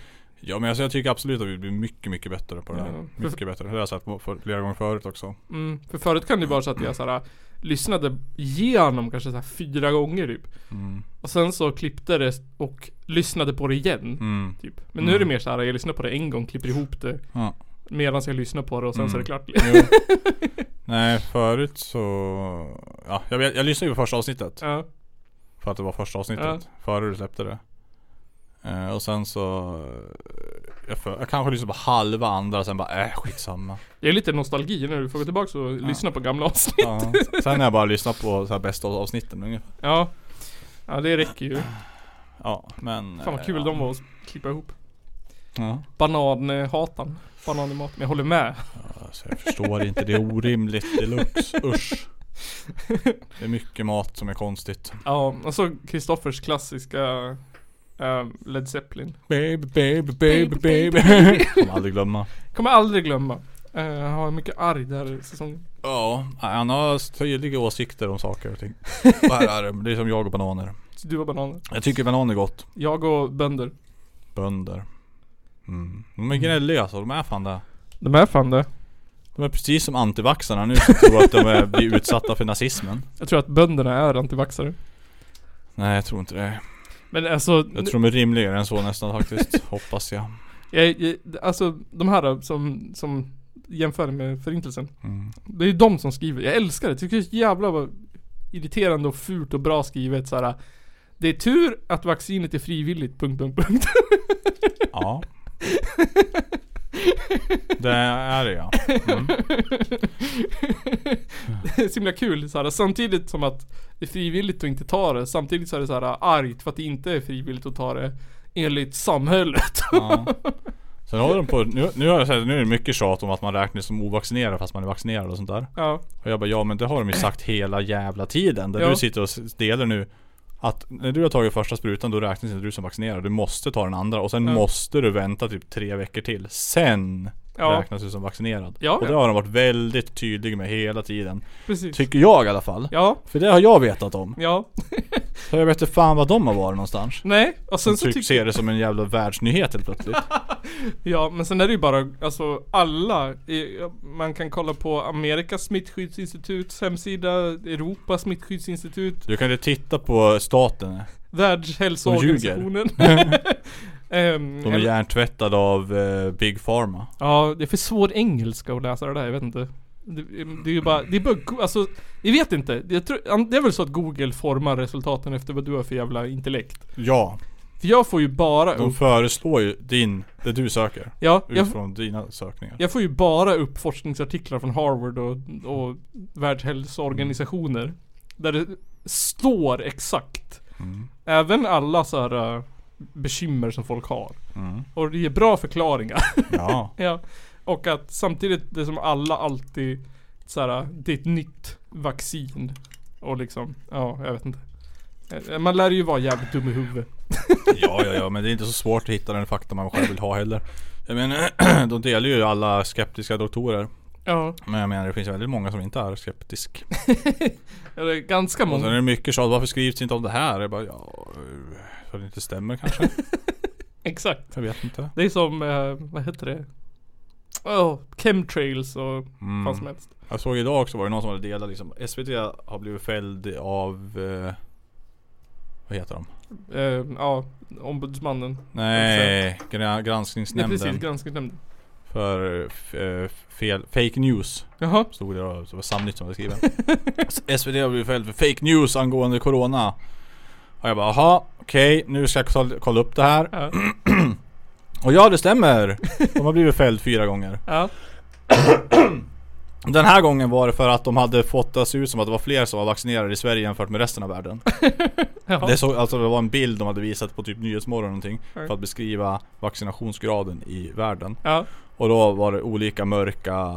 [SPEAKER 4] Ja men alltså, jag tycker absolut att vi blir mycket, mycket bättre på det här.
[SPEAKER 3] Ja.
[SPEAKER 4] Mycket bättre. Det har jag sagt på- för- flera gånger förut också.
[SPEAKER 3] Mm. För förut kan det vara så att jag så här, äh, lyssnade igenom kanske så här fyra gånger typ.
[SPEAKER 4] Mm.
[SPEAKER 3] Och sen så klippte det och lyssnade på det igen.
[SPEAKER 4] Mm.
[SPEAKER 3] Typ. Men nu är det mer så här, jag lyssnar på det en gång, klipper ihop det.
[SPEAKER 4] Ja. Mm.
[SPEAKER 3] Medan jag lyssnar på det och sen så är det klart.
[SPEAKER 4] Jo. Nej, förut så... Ja, jag, vet- jag lyssnade ju på första avsnittet.
[SPEAKER 3] Ja.
[SPEAKER 4] För att det var första avsnittet. Före du släppte det. Eh, och sen så... eh, Jag, för, jag kanske lyssnade på halva andra sen bara äh skitsamma.
[SPEAKER 3] Det är lite nostalgi när du får gå tillbaka och lyssna på gamla avsnitt.
[SPEAKER 4] Ja. Sen har jag bara lyssnat på så här bästa avsnitten ungefär.
[SPEAKER 3] Ja. Ja det räcker ju.
[SPEAKER 4] Ja men...
[SPEAKER 3] Fan vad
[SPEAKER 4] eh,
[SPEAKER 3] kul
[SPEAKER 4] ja.
[SPEAKER 3] de var att klippa ihop.
[SPEAKER 4] Ja.
[SPEAKER 3] Bananhatan. Banan i mat. Men jag håller med.
[SPEAKER 4] Alltså, jag förstår inte, det är orimligt deluxe. Usch. Det är mycket mat som är konstigt.
[SPEAKER 3] Ja, och så Kristoffers klassiska eh, Led Zeppelin.
[SPEAKER 4] Baby, baby, baby, baby. Kommer aldrig glömma.
[SPEAKER 3] Kommer aldrig glömma. Eh, Han var mycket arg där i säsongen.
[SPEAKER 4] Ja, han har tydliga åsikter om saker och ting. Vad är det? Det är som jag och bananer.
[SPEAKER 3] Så Du var bananer.
[SPEAKER 4] Jag tycker banan är gott.
[SPEAKER 3] Jag och bönder.
[SPEAKER 4] Bönder. Mm. De är gnälliga alltså, de är fan det.
[SPEAKER 3] De är fan det.
[SPEAKER 4] De är precis som antivaxxarna nu som tror att de är, blir utsatta för nazismen.
[SPEAKER 3] Jag tror att bönderna är antivaxxare.
[SPEAKER 4] Nej jag tror inte det.
[SPEAKER 3] Men alltså,
[SPEAKER 4] Jag tror de är rimligare än så nästan faktiskt. Hoppas jag.
[SPEAKER 3] jag, jag, alltså de här som, som jämför med förintelsen.
[SPEAKER 4] Mm.
[SPEAKER 3] Det är ju de som skriver. Jag älskar det. Jag tycker det är så jävla vad irriterande och fult och bra skrivet så här. Det är tur att vaccinet är frivilligt, punkt, punkt, punkt.
[SPEAKER 4] Ja. Det är det ja. Mm.
[SPEAKER 3] Det är så himla kul så här. Samtidigt som att det är frivilligt att inte ta det. Samtidigt så är det så här äh, argt för att det inte är frivilligt att ta det enligt samhället.
[SPEAKER 4] ja. Sen håller de på, nu, nu har jag sett, nu är det mycket tjat om att man räknas som ovaccinerad fast man är vaccinerad och sånt där.
[SPEAKER 3] Ja.
[SPEAKER 4] Och jag bara ja men det har de ju sagt hela jävla tiden. Där
[SPEAKER 3] Ja.
[SPEAKER 4] du sitter och s- delar nu att när du har tagit första sprutan då räknas inte du som vaccinerad. Du måste ta den andra och sen
[SPEAKER 3] Ja.
[SPEAKER 4] måste du vänta typ tre veckor till. Sen
[SPEAKER 3] Ja.
[SPEAKER 4] räknas du som vaccinerad.
[SPEAKER 3] Ja,
[SPEAKER 4] och det
[SPEAKER 3] ja.
[SPEAKER 4] har de varit väldigt tydliga med hela tiden.
[SPEAKER 3] Precis.
[SPEAKER 4] Tycker jag i alla fall.
[SPEAKER 3] Ja.
[SPEAKER 4] För det har jag vetat om.
[SPEAKER 3] Ja.
[SPEAKER 4] Så jag vet inte fan vad de har varit någonstans.
[SPEAKER 3] Nej. Och sen
[SPEAKER 4] Sen
[SPEAKER 3] så
[SPEAKER 4] typ
[SPEAKER 3] tycker
[SPEAKER 4] ser det som en jävla världsnyhet helt plötsligt.
[SPEAKER 3] Ja, men sen är det ju bara, alltså alla, i- man kan kolla på Amerikas smittskyddsinstituts hemsida, Europas smittskyddsinstitut,
[SPEAKER 4] Du kan ju titta på staten.
[SPEAKER 3] Världshälsoorganisationen. Ehm,
[SPEAKER 4] De är
[SPEAKER 3] eller-
[SPEAKER 4] hjärntvättade av eh, Big Pharma.
[SPEAKER 3] ja, det är för svår engelska att läsa det där, jag vet inte. Det, det är ju bara, det är bara, alltså, jag vet inte. Jag tror, det är väl så att Google formar resultaten efter vad du har för jävla intellekt.
[SPEAKER 4] Ja,
[SPEAKER 3] För jag får ju bara
[SPEAKER 4] de
[SPEAKER 3] upp,
[SPEAKER 4] föreslår ju din, det du söker.
[SPEAKER 3] ja, jag,
[SPEAKER 4] Utifrån dina sökningar.
[SPEAKER 3] jag får ju bara upp forskningsartiklar från Harvard och, och Världshälsoorganisationer. Där det står exakt.
[SPEAKER 4] Mm.
[SPEAKER 3] Även alla så här eh, bekymmer som folk har.
[SPEAKER 4] Mm.
[SPEAKER 3] Och det ger bra förklaringar.
[SPEAKER 4] Ja.
[SPEAKER 3] ja. Och att samtidigt, det som alla alltid så här, det är ett nytt vaccin. Och liksom, ja jag vet inte. Eh, Man lär ju vara jävligt dum i huvudet.
[SPEAKER 4] ja, ja, ja, men det är inte så svårt att hitta den fakta man själv vill ha heller. Jag menar, de delar ju alla skeptiska doktorer.
[SPEAKER 3] Ja.
[SPEAKER 4] Men jag menar det finns väldigt många som inte är skeptisk.
[SPEAKER 3] Det är ganska
[SPEAKER 4] Och sen är
[SPEAKER 3] många.
[SPEAKER 4] det mycket tjat, varför skrivs det inte om det här? Jag bara, ja... eh, För det inte stämmer kanske?
[SPEAKER 3] Exakt.
[SPEAKER 4] Jag vet inte.
[SPEAKER 3] Det är som, eh, vad heter det? Oh, chemtrails och
[SPEAKER 4] Mm.
[SPEAKER 3] vad som helst.
[SPEAKER 4] Jag såg idag också var det någon som hade delat liksom SVT har blivit fälld av eh, Vad heter de?
[SPEAKER 3] Eh, ja, ombudsmannen.
[SPEAKER 4] Nej, gra-
[SPEAKER 3] Nej
[SPEAKER 4] granskningsnämnden
[SPEAKER 3] precis, granskningsnämnden.
[SPEAKER 4] För eh, f- eh, fel, fake news
[SPEAKER 3] Jaha.
[SPEAKER 4] Stod det då, det var Samnytt som hade skrivit S- SVT har blivit fälld för fake news angående Corona Och jag bara aha, okej nu ska jag kolla- kolla upp det här
[SPEAKER 3] Ja.
[SPEAKER 4] Och ja det stämmer! De har blivit fälld fyra gånger
[SPEAKER 3] Ja.
[SPEAKER 4] Den här gången var det för att de hade fått det att se ut som att det var fler som var vaccinerade i Sverige jämfört med resten av världen
[SPEAKER 3] Jaha.
[SPEAKER 4] Det, såg, alltså det var en bild de hade visat på typ Nyhetsmorgon eller någonting
[SPEAKER 3] Ja.
[SPEAKER 4] För att beskriva vaccinationsgraden i världen
[SPEAKER 3] Ja.
[SPEAKER 4] Och då var det olika mörka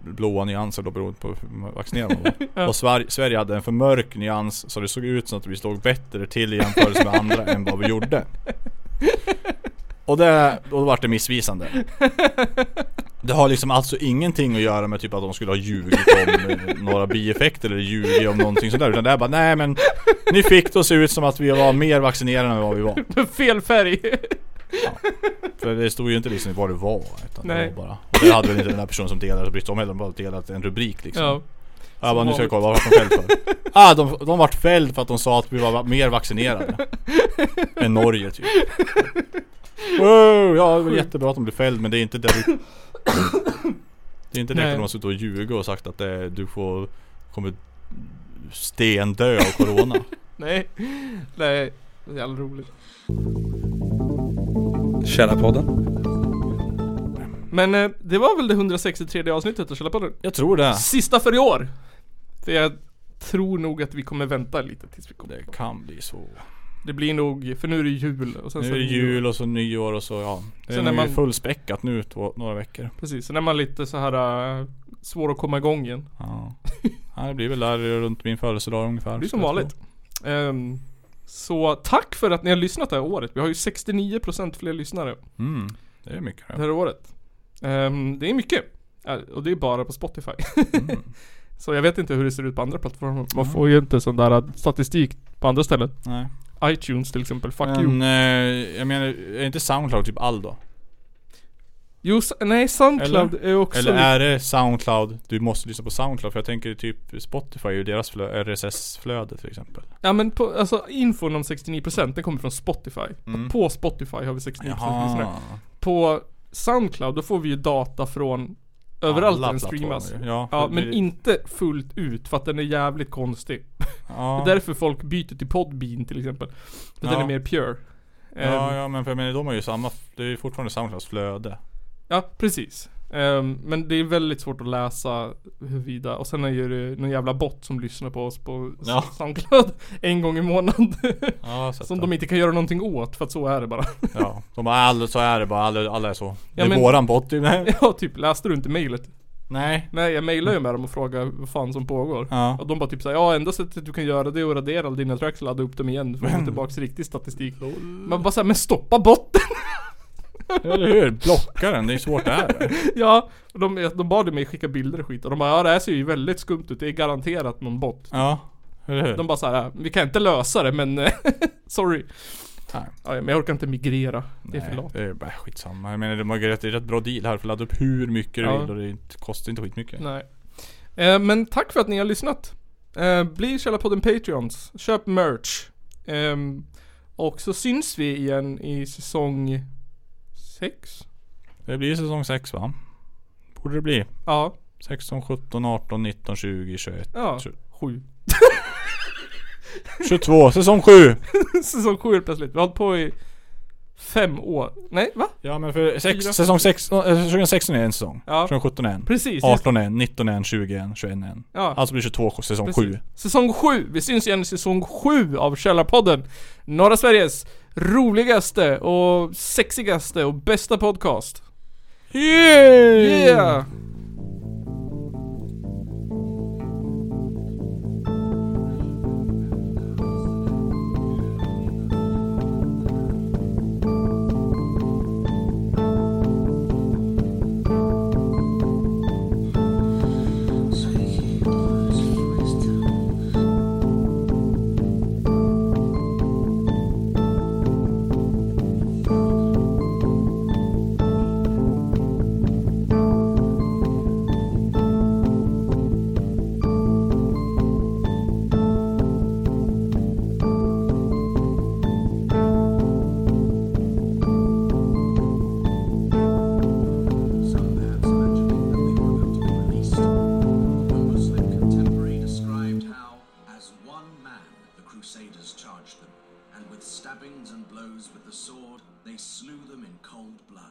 [SPEAKER 4] blåa nyanser då beroende på hur vaccinerad man var
[SPEAKER 3] Ja.
[SPEAKER 4] Och Sverige, Sverige hade en för mörk nyans så det såg ut som att vi stod bättre till i jämförelse med andra än vad vi gjorde Och det, och då vart det missvisande Det har liksom alltså ingenting att göra med typ att de skulle ha ljugit om eh, några bieffekter eller ljugit om någonting sådär Utan det är bara nej men Ni fick det att se ut som att vi var mer vaccinerade än vad vi var
[SPEAKER 3] Med fel färg.
[SPEAKER 4] för det stod ju inte liksom vad det var utan
[SPEAKER 3] Nej.
[SPEAKER 4] det var bara och Det hade väl inte den där personen som delade brytt sig om heller, de bara delat en rubrik liksom
[SPEAKER 3] ja.
[SPEAKER 4] Jag bara nu
[SPEAKER 3] vanligt.
[SPEAKER 4] ska jag kolla, vad vart de fälld för? ah, de, de vart fälld för att de sa att vi var mer vaccinerade Än Norge typ wow, Ja det var jättebra att de blev fälld men det är inte det vi- Det är inte direkt
[SPEAKER 3] Nej.
[SPEAKER 4] att de har suttit och ljugit och sagt att eh, du får Kommer stendö av corona
[SPEAKER 3] Nej. Nej. Det är jävla roligt.
[SPEAKER 9] Källarpodden.
[SPEAKER 3] Men eh, det var väl det 163 avsnittet av Källarpodden.
[SPEAKER 4] Jag tror det
[SPEAKER 3] Sista för i år. För jag tror nog att vi kommer vänta lite tills vi kommer.
[SPEAKER 4] Det kan bli så
[SPEAKER 3] Det blir nog, för nu är det jul. Och sen
[SPEAKER 4] Nu
[SPEAKER 3] så
[SPEAKER 4] är det jul och så nyår och så ja Det är
[SPEAKER 3] Sen
[SPEAKER 4] nu
[SPEAKER 3] är man-
[SPEAKER 4] fullspäckat nu två, några veckor
[SPEAKER 3] Precis, sen är man lite så här eh, svår att komma igång igen.
[SPEAKER 4] Ja. ja det blir väl där runt min födelsedag ungefär
[SPEAKER 3] Det blir som
[SPEAKER 4] skulle jag
[SPEAKER 3] vanligt.
[SPEAKER 4] tro.
[SPEAKER 3] Ehm, så tack för att ni har lyssnat det här året. Vi har ju 69% fler lyssnare
[SPEAKER 4] Mm, det är mycket
[SPEAKER 3] det
[SPEAKER 4] det
[SPEAKER 3] här året. Ehm, det är mycket. Ja, Och det är bara på Spotify.
[SPEAKER 4] mm.
[SPEAKER 3] Så jag vet inte hur det ser ut på andra plattformar. Man får ju inte sån där äh, statistik på andra ställen.
[SPEAKER 4] Nej.
[SPEAKER 3] iTunes till exempel, fuck you.
[SPEAKER 4] Men eh, jag menar, är inte Soundcloud typ all då?
[SPEAKER 3] Jo, s- nej Soundcloud är också
[SPEAKER 4] Eller
[SPEAKER 3] lite-
[SPEAKER 4] är det Soundcloud, du måste lyssna på Soundcloud för jag tänker typ Spotify är ju deras flö- RSS-flöde till exempel
[SPEAKER 3] Ja men på, alltså infon om 69% den kommer från Spotify.
[SPEAKER 4] Mm.
[SPEAKER 3] På Spotify har vi 69% lyssnare. På Soundcloud, då får vi ju data från överallt
[SPEAKER 4] Alla
[SPEAKER 3] där den
[SPEAKER 4] plattformar
[SPEAKER 3] streamas.
[SPEAKER 4] ju. Ja,
[SPEAKER 3] Ja,
[SPEAKER 4] det
[SPEAKER 3] men
[SPEAKER 4] blir-
[SPEAKER 3] inte fullt ut för att den är jävligt konstig.
[SPEAKER 4] ja.
[SPEAKER 3] Det är därför folk byter till Podbean till exempel. För att den
[SPEAKER 4] Ja.
[SPEAKER 3] är mer pure. Ehm,
[SPEAKER 4] Ja, ja men för jag menar de har ju samma, det är ju fortfarande Soundclouds flöde
[SPEAKER 3] Ja, precis. Ehm, men det är väldigt svårt att läsa huruvida, och sen är ju det någon jävla bot som lyssnar på oss på
[SPEAKER 4] Ja.
[SPEAKER 3] Soundcloud en gång i månaden.
[SPEAKER 4] Ja, så att-
[SPEAKER 3] som de inte kan göra någonting åt, för att så är det bara.
[SPEAKER 4] Ja, de bara alla så är det bara, alla, alla är så. det är
[SPEAKER 3] men-
[SPEAKER 4] våran bot. typ. Nej.
[SPEAKER 3] ja, typ läste du inte mejlet?
[SPEAKER 4] Nej.
[SPEAKER 3] Nej, jag mejlade ju med dem och frågade vad fan som pågår.
[SPEAKER 4] Ja.
[SPEAKER 3] Och de bara typ såhär, ja enda sättet du kan göra det är att radera alla dina tracks och ladda upp dem igen för att
[SPEAKER 4] Mm.
[SPEAKER 3] få tillbaks riktig statistik. Man bara såhär, men stoppa botten!
[SPEAKER 4] Eller hur? Blocka den, det är svårt det här.
[SPEAKER 3] ja, och de, de bad mig skicka bilder och skit och de bara, ja det här ser ju väldigt skumt ut, det är garanterat någon bot.
[SPEAKER 4] Ja, eller hur?
[SPEAKER 3] De bara såhär, vi kan inte lösa det men sorry.
[SPEAKER 4] Nej.
[SPEAKER 3] Ja, men jag orkar inte migrera, det är för
[SPEAKER 4] Nej,
[SPEAKER 3] lat.
[SPEAKER 4] det är bara skitsamma. Jag menar, de har ju rätt, det är rätt bra deal här för ladda upp hur mycket du
[SPEAKER 3] Ja.
[SPEAKER 4] vill och det är inte- kostar inte skitmycket.
[SPEAKER 3] Nej. Eh, men tack för att ni har lyssnat. Eh, bli Källarpodden Patreons. Köp merch. Ehm, och så syns vi igen i säsong 6?
[SPEAKER 4] Det blir säsong 6 va? Borde det bli.
[SPEAKER 3] Ja,
[SPEAKER 4] 16, 17, 18, 19, 20, 21,
[SPEAKER 3] ja.
[SPEAKER 4] Tju-
[SPEAKER 3] 7.
[SPEAKER 4] 22, säsong 7!
[SPEAKER 3] säsong 7 helt plötsligt. Vi har hållit på i fem år. Nej, va?
[SPEAKER 4] Ja men för sex,
[SPEAKER 3] Fyra.
[SPEAKER 4] säsong 6, 2016 är en säsong.
[SPEAKER 3] Ja.
[SPEAKER 4] 2017 är en.
[SPEAKER 3] Precis. just-
[SPEAKER 4] 18 är en, 19 är en, 20 är en, 21 är en.
[SPEAKER 3] Ja.
[SPEAKER 4] Alltså blir 22 säsong
[SPEAKER 3] Precis.
[SPEAKER 4] 7.
[SPEAKER 3] Säsong 7. Vi syns igen i säsong 7 av Källarpodden. Norra Sveriges roligaste och sexigaste och bästa podcast.
[SPEAKER 4] Yeah!
[SPEAKER 3] Yeah!
[SPEAKER 9] Some bands mentioning that they were going to be released. One Muslim contemporary described how, as one man, the Crusaders charged them, and with stabbings and blows with the sword, they slew them in cold blood.